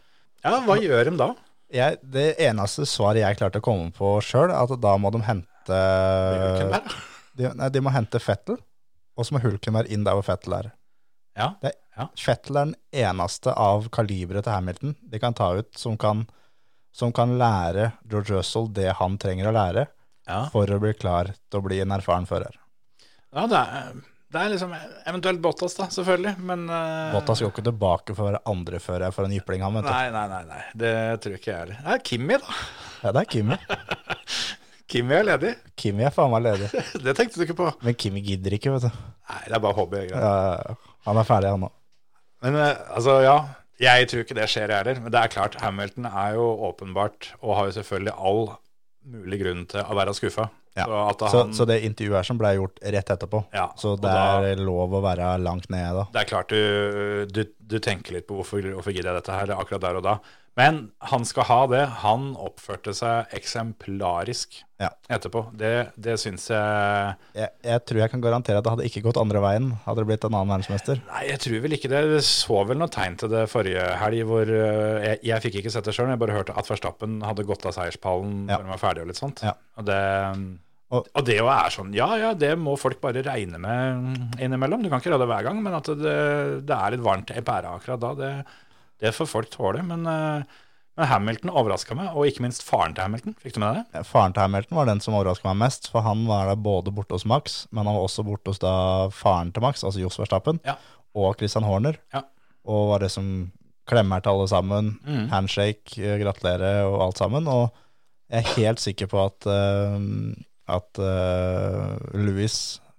Ja, hva gjør de da?
Jeg, det eneste svaret jeg klarte å komme på sjøl, er at da må de hente
Hvem er det?
Eh. de, nei, de må hente Fettel, og så må Hulkenberg inn der hvor Fettel er.
Ja.
Fettel er den eneste av kaliberet til Hamilton de kan ta ut, som kan, som kan lære George Russell det han trenger å lære
Ja.
for å bli klar til å bli en erfaren fører.
Ja, det er, det er liksom eventuelt Bottas, da, selvfølgelig, men eh,
Bottas går ikke tilbake for å være andre fører for en jypling, han, vet du.
Nei, nei, nei, nei, det tror ikke jeg heller. Det er Kimmi, da.
Ja, det er Kimi.
Kimmi er ledig.
Kimi er faen meg ledig.
Det tenkte du ikke på.
Men Kimi gidder ikke, vet du.
Nei, det er bare hobby. jeg greier.
Ja, han er ferdig, han nå.
Men eh, altså, ja. Jeg tror ikke det skjer, jeg heller. Men det er klart, Hamilton er jo åpenbart, og har jo selvfølgelig all mulig grunn til å være skuffa.
Ja.
Så at
Så,
han,
så det intervjuet her som ble gjort rett etterpå,
Ja,
så
og
det
da-
er lov å være langt nede da.
det er klart du, du, du tenker litt på hvorfor, hvorfor gidder jeg dette her akkurat der og da. Men han skal ha det. Han oppførte seg eksemplarisk
Ja.
etterpå. Det, det syns jeg
Jeg, jeg tror jeg kan garantere at det hadde ikke gått andre veien, hadde det blitt en annen verdensmester.
Nei, jeg tror vel ikke det. Det så vel noe tegn til det forrige helg hvor eh, jeg, jeg fikk ikke sett det sjøl, men jeg bare hørte at Verstappen hadde gått av seierspallen
Ja.
når den var ferdig og litt sånt.
Ja.
Og det...
Og-
Og, det jo er sånn, ja ja, det må folk bare regne med mm, innimellom. Du kan ikke gjøre det hver gang, men at det, det er litt varmt i pæra akkurat da, det, det får folk tåle. Men, eh, men Hamilton overraska meg, og ikke minst faren til Hamilton. Fikk du med deg det?
Faren til Hamilton var den som overrasket meg mest, for han var da både borte hos Max, men han var også borte hos da faren til Max, altså Jos Verstappen,
Ja.
og Christian Horner,
Ja.
og var det som klemmer til alle sammen,
Mm.
handshake, eh, gratulere og alt sammen, og jeg er helt sikker på at, eh, at eh, Louis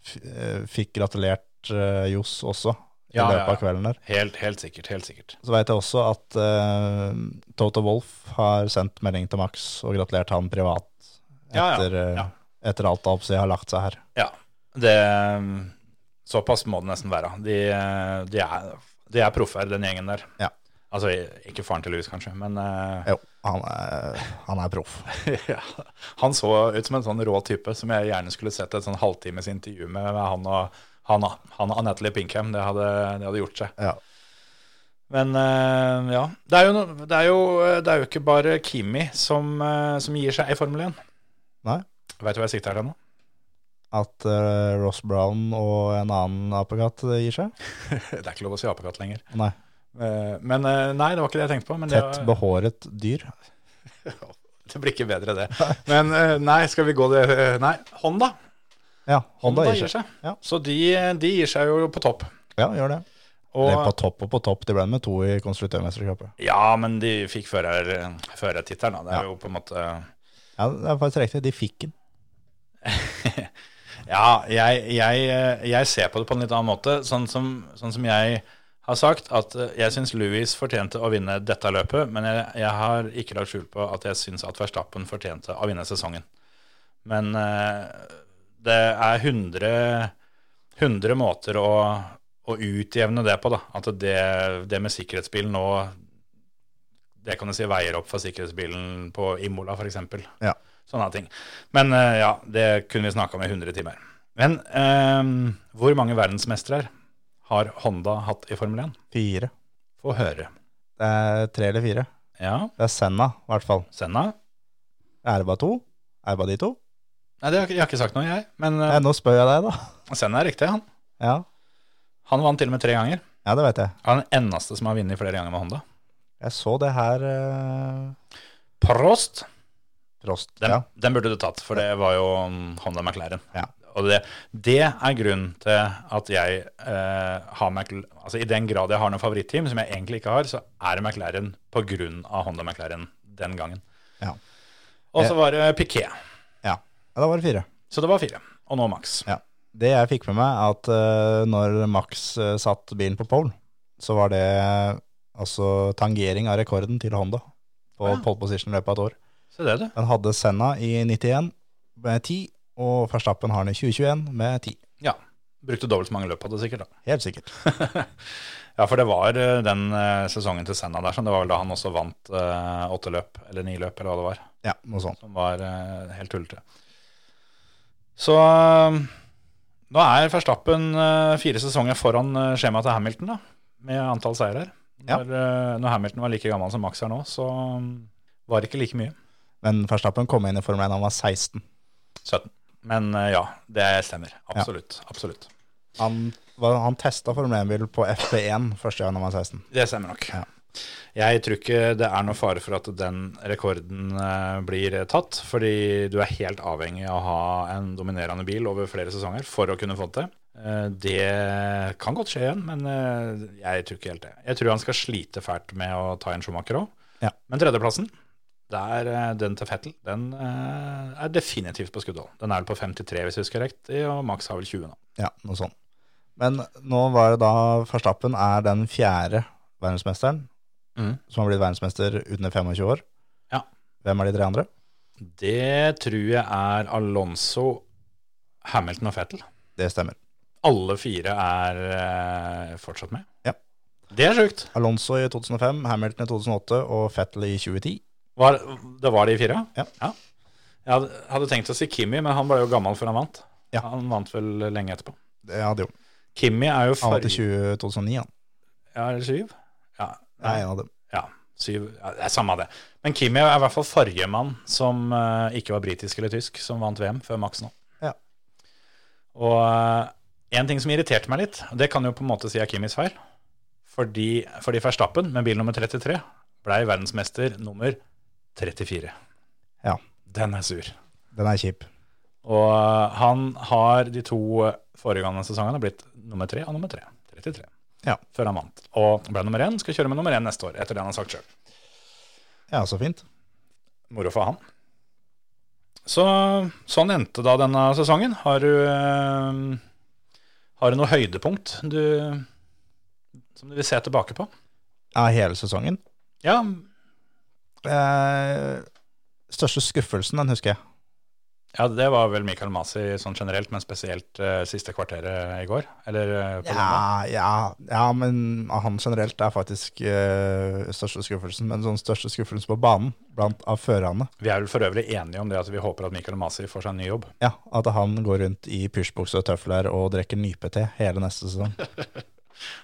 f- eh, fikk gratulert eh, Jos også, i
Ja,
løpet
ja, ja.
av kvelden der.
Helt, helt sikkert. helt sikkert.
Så vet jeg også at eh, Toto Wolff har sendt melding til Max og gratulert han privat
Ja, ja,
etter, eh,
ja.
etter alt oppsida har lagt seg her.
Ja, det um, Såpass må det nesten være. De, eh, de er, de er proffer, den gjengen der.
Ja.
Altså, ikke faren til Louis, kanskje, men eh,
Jo, han er, han er proff.
<laughs> ja. han så ut som en sånn rå type som jeg gjerne skulle sett et sånn halvtimes intervju med, med han og han, han og Anette Lee Pinkham. Det hadde, det hadde gjort seg.
Ja.
Men eh, ja. Det er jo, no- det er jo, eh, det er jo ikke bare Kimi som, eh, som gir seg i Formel 1.
Nei.
Veit du hva jeg sikter til nå? <laughs>
At eh, Ross Brown og en annen apekatt eh, gir seg.
Det er ikke lov å si apekatt lenger.
Nei.
Eh, Men eh, nei, det var ikke det jeg tenkte på. Men det,
Tett behåret dyr.
<laughs> det blir ikke bedre, det. Men eh, nei, skal vi gå det eh, Nei, Honda.
Ja,
Honda
Honda gir seg. Ja.
Så de, de gir seg jo på topp.
Ja, gjør det.
Og,
Eller på topp og på topp. De ble med to i konstruktørmesterskapet.
ja, men de fikk fører, førertittelen, da. Det er jo på en måte
Ja, det er faktisk riktig. De fikk den.
Ja, jeg, jeg, eh, jeg ser på det på en litt annen måte. Sånn som, sånn som jeg har sagt, at eh, jeg syns Louis fortjente å vinne dette løpet, men jeg, jeg har ikke lagt skjul på at jeg syns at Verstappen fortjente å vinne sesongen. Men eh, det er 100, 100 måter å, å utjevne det på, da. At det, det med sikkerhetsbilen nå Det kan du si veier opp for sikkerhetsbilen på Imola, f.eks
Ja.
sånne ting. Men eh, ja, det kunne vi snakka om i 100 timer. Men eh, hvor mange verdensmestere har Honda hatt i Formel 1?
Fire.
Få høre.
Det er tre eller fire.
Ja,
Det er Senna, i hvert fall.
Senna?
Er det bare to? Er det bare de to?
Nei, det har, jeg ikke- jeg har ikke sagt noe, jeg. Men eh,
Nei, nå spør jeg deg, da.
Senna er riktig, han.
Ja,
Han vant til og med tre ganger.
ja det vet jeg.
Han er den eneste som har vunnet flere ganger med Honda.
Jeg så det her eh,
Prost!
Prost.
Den,
Ja.
den burde du tatt, for det var jo mm, Honda McLaren.
Ja.
Og det, det er grunnen til at jeg eh, har McLaren Altså I den grad jeg har noe favorittteam, som jeg egentlig ikke har, så er det McLaren på grunn av Honda McLaren den gangen.
Ja. Eh.
Og så var det Piquet.
ja. Ja, Da var det fire.
Så det var fire. Og nå Max.
Ja. Det jeg fikk med meg, er at eh, når Max eh, satt bilen på pole, så var det eh, altså tangering av rekorden til Honda på
Ja.
pole position i løpet av et år.
Se det, du.
Den hadde Senna i 91 med 10, og Verstappen har den i 2021 med 10.
Ja. Brukte dobbelt så mange løp på det, sikkert. da.
Helt sikkert.
Ja, for det var eh, den eh, sesongen til Senna der, sånn. Det var vel da han også vant eh, åtte løp, eller ni løp, eller hva det var.
Ja, noe sånt.
som var eh, helt tullete. Så eh, nå er Verstappen eh, fire sesonger foran eh, skjemaet til Hamilton, da, med antall seirer.
Ja.
Når, eh, når Hamilton var like gammel som Max er nå, så mm, var det ikke like mye.
Men Verstappen kom inn i Formel 1 da han var 16.
17. Men eh, ja, det stemmer. Absolutt. absolutt.
Han var- Han testa Formel 1-bil på FP1 første gang han var 16.
Det stemmer nok. Jeg tror ikke det er noe fare for at den rekorden eh, blir tatt, fordi du er helt avhengig av å ha en dominerende bil over flere sesonger for å kunne få det til. Eh, Det kan godt skje igjen, men eh, jeg tror ikke helt det. Jeg tror han skal slite fælt med å ta en Schumacher òg.
Ja.
Men tredjeplassen, der, eh, den til Fettel, den eh, er definitivt på skuddhold. Den er vel på 53, hvis jeg husker riktig, og Max har vel 20 nå.
Ja, noe sånt. Men nå var det da Verstappen er den fjerde verdensmesteren
Mhm.
som har blitt verdensmester under 25 år.
Ja.
Hvem er de tre andre?
Det tror jeg er Alonso, Hamilton og Fettel.
Det stemmer.
alle fire er eh, fortsatt med.
Ja.
Det er sjukt.
Alonso i 2005, Hamilton i 2008 og Fettel i 2010.
Var, det var de fire?
Ja.
Jeg hadde, hadde tenkt å si Kimi, men han ble jo gammel før han vant.
Ja.
Han vant vel lenge etterpå.
Det hadde jo.
Kimi er jo
Han var
farge...
til 20 2009, han.
Ja, eller syv? Ja,
Nei, en av dem.
ja, syv. Ja, det er samme av det. Men Kimi er i hvert fall forrige mann som eh, ikke var britisk eller tysk, som vant VM før Max nå.
Ja.
Og eh, en ting som irriterte meg litt, og det kan jo på en måte si er Kimis feil, fordi, fordi Verstappen med bil nummer 33 blei verdensmester nummer 34.
Ja.
Den er sur.
Den er kjip.
Og eh, han har de to foregående sesongene blitt nummer tre og nummer tre. 33.
Ja.
Før han vant. Og ble nummer én, skal kjøre med nummer én neste år, etter det han har sagt sjøl.
Ja, så fint.
Moro for han. Så sånn endte da denne sesongen. Har du, eh, har du noe høydepunkt du, som du vil se tilbake på?
Ja, hele sesongen.
Ja,
Eh, største skuffelsen, den husker jeg.
ja det var vel Michael Masi sånn generelt, men spesielt eh, siste kvarteret i går. Eller eh, på lørdag.
Ja, ja, ja, men han generelt er faktisk eh, største skuffelsen. Men sånn største skuffelsen på banen, blant av førerne.
Vi er vel for øvrig enige om det at vi håper at Michael Masi får seg en ny jobb.
Ja, At han går rundt i pysjbukse og tøfler og drikker nypete hele neste sesong.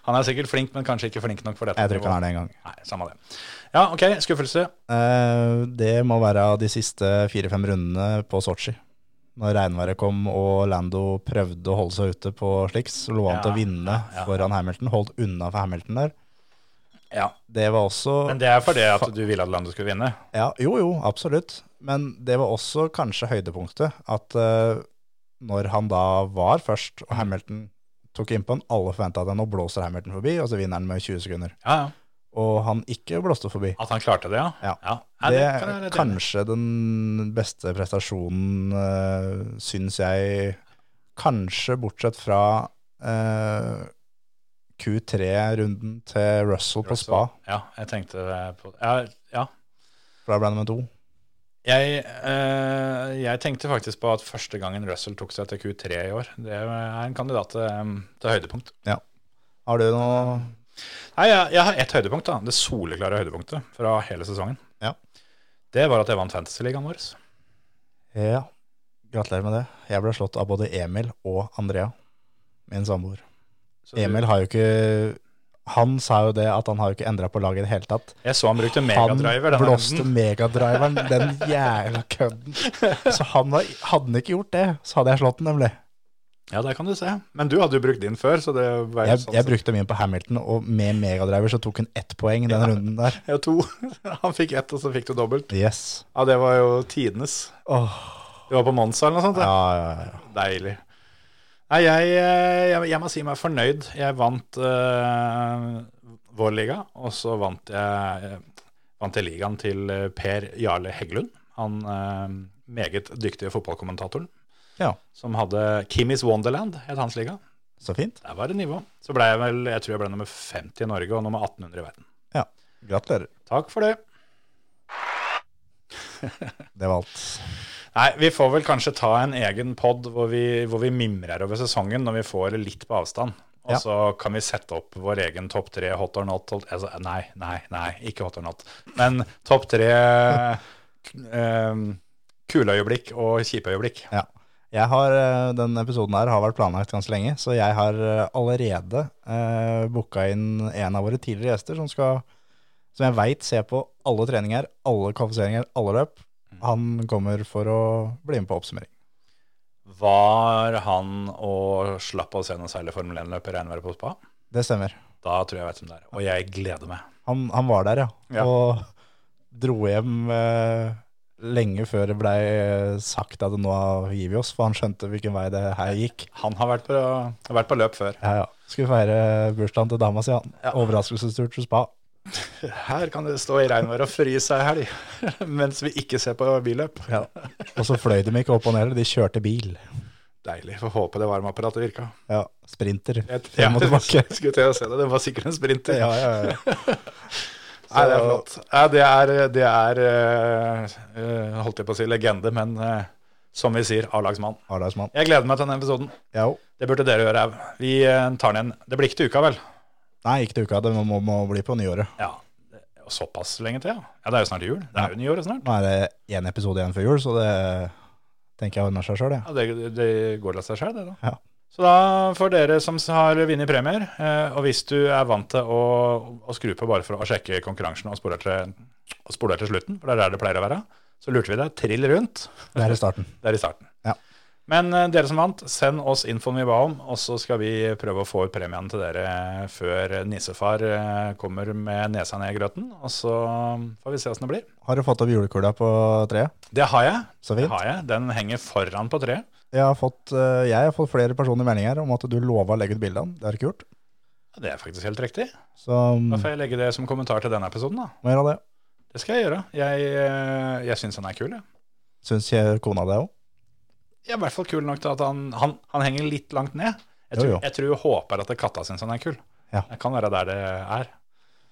Han er sikkert flink, men kanskje ikke flink nok for dette.
Jeg tror ikke han er det engang.
Nei, samme det. Ja, ok, skuffelse.
Eh, det må være de siste fire-fem rundene på Sotsji. Når regnværet kom og Lando prøvde å holde seg ute på sliks, så lå han
Ja,
til å vinne
ja, ja.
foran Hamilton. Holdt unna for Hamilton der.
Ja,
Det var også
Men det er fordi at du ville at landet skulle vinne.
Ja, jo, jo, absolutt. Men det var også kanskje høydepunktet at eh, når han da var først, og Hamilton tok innpå han, alle forventa at nå blåser Hamilton forbi, og så vinner han med 20 sekunder.
Ja, ja.
Og han ikke blåste forbi.
At han klarte det, ja?
Ja.
Nei,
det
kan jeg være
er
litt enig i.
kanskje den beste prestasjonen, uh, syns jeg, kanskje bortsett fra eh, Q3-runden til Russell på Spa,
Ja, jeg tenkte på Ja. ja.
for da ble han nummer to.
Jeg, eh, jeg tenkte faktisk på at første gangen Russell tok seg til Q3 i år, det er en kandidat til, eh, til høydepunkt.
Har du noe
Nei, jeg, jeg har ett høydepunkt, da. Det soleklare høydepunktet fra hele sesongen.
Ja.
Det var at jeg vant Fantasyligaen vår.
Ja, gratulerer med det. Jeg ble slått av både Emil og Andrea, min samboer.
Så du-
Emil har jo ikke Han sa jo det at han har jo ikke endra på laget i det hele tatt.
Jeg så han brukte
Han
megadriver. denne
blåste
runden.
megadriveren, den jævla kødden. Så han har, hadde han ikke gjort det, så hadde jeg slått den, nemlig.
Ja, der kan du se. Men du hadde jo brukt din før, så det var jo
Jeg,
sånn
jeg brukte min på Hamilton, og med megadriver så tok hun ett poeng den runden der.
<laughs> Ja, to. Han fikk ett, og så fikk du dobbelt.
Yes.
Ja, det var jo tidenes.
Åh,
Det var på Monza eller noe sånt. det.
ja, ja, ja.
Deilig. Nei, jeg, eh, jeg, jeg må si meg fornøyd. Jeg vant eh, vår liga, og så vant jeg, eh, vant jeg ligaen til eh, Per Jarle Heggelund. Han eh, meget dyktige fotballkommentatoren.
Ja.
Som hadde Kimmys Wonderland, het hans liga.
Så fint.
Der var det nivå. Så ble jeg vel, jeg tror jeg ble nummer 50 i Norge og nummer 1800 i verden.
Ja. Gratulerer.
Takk for det.
Det var alt.
Nei, vi får vel kanskje ta en egen pod hvor vi, hvor vi mimrer over sesongen når vi får litt på avstand. Og
Ja.
så kan vi sette opp vår egen topp tre hot or not. Hot, altså, nei, nei, nei, ikke hot or not. Men topp tre <laughs> um, kule øyeblikk og kjipe øyeblikk.
Ja. Jeg har, eh, den episoden her har vært planlagt ganske lenge, så jeg har eh, allerede eh, booka inn en av våre tidligere gjester som, skal, som jeg veit ser på alle treninger,
Mm.
alle kvalifiseringer, alle løp. Han kommer for å bli med på oppsummering.
Var han og slapp å se noen særlig Formel 1-løp i regnværet på spa?
Det stemmer.
Da tror jeg jeg vet hvem det er. Og jeg gleder meg.
Han, han var der, ja.
Ja.
Og dro hjem eh, lenge før det blei eh, sagt at nå gir vi oss, for han skjønte hvilken vei det her gikk.
Han har vært på, har vært på løp før.
Ja, ja. Skulle feire bursdagen til dama si, han. Overraskelsestur til spa.
Her kan det stå i regnvær og fryse ei helg, <laughs> mens vi ikke ser på billøp.
Og så fløy de ikke opp og ned, heller, de kjørte bil.
Deilig. Får håpe det varmeapparatet virka.
Ja, Sprinter.
Jeg-
Frem og
Ja,
tilbake.
<laughs> Skulle til å se det. Det var sikkert en sprinter.
Ja, ja, ja.
Nei, det er flott. Nei, det er, det er eh, eh, holdt jeg på å si legende, men eh, som vi sier, A-lagsmann.
Arlaismann.
Jeg gleder meg til denne episoden.
Ja, jo.
Det burde dere gjøre òg. Vi eh, tar den igjen. Det blir ikke til uka, vel?
Nei, ikke til uka. Det må, må bli på nyåret.
Ja. det- Såpass lenge til, ja. ja. Det er jo snart jul. Det er jo nyåret snart.
Nå er det én episode igjen før jul, så det tenker jeg ordner seg sjøl, jeg.
Ja, det, det går til seg sjøl, det da.
Ja.
Så da får dere som har vunnet premier, eh, og hvis du er vant til å, å skru på bare for å sjekke konkurransen og spole til, og spole til slutten, for det er der det pleier å være, så lurte vi deg trill rundt
Det er i starten.
der i starten.
Ja.
Men eh, dere som vant, send oss infoen vi ba om, og så skal vi prøve å få ut premien til dere eh, før nisefar eh, kommer med nesa ned i grøten. Og så får vi se åssen det blir.
Har du fått opp julekula på treet?
Det har jeg.
Så
Det
fint.
har jeg. Den henger foran på treet.
Jeg har fått, eh, jeg har fått flere personlige meldinger om at du lova å legge ut bildene. Det har du ikke gjort.
Ja, Det er faktisk helt riktig.
Så mm,
Da får jeg legge det som kommentar til denne episoden, da.
må gjøre det.
Det skal jeg gjøre. Jeg, eh, jeg syns han er kul, jeg.
Syns ikke kona det òg?
Jeg er i hvert fall kul nok til at han, han, han henger litt langt ned. Jeg
Jo,
tror,
jo.
jeg tror og håper at katta syns han er kul.
Ja.
Det kan være der det er.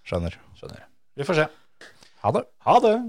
Skjønner.
Skjønner. Vi får se.
Ha det.
Ha det!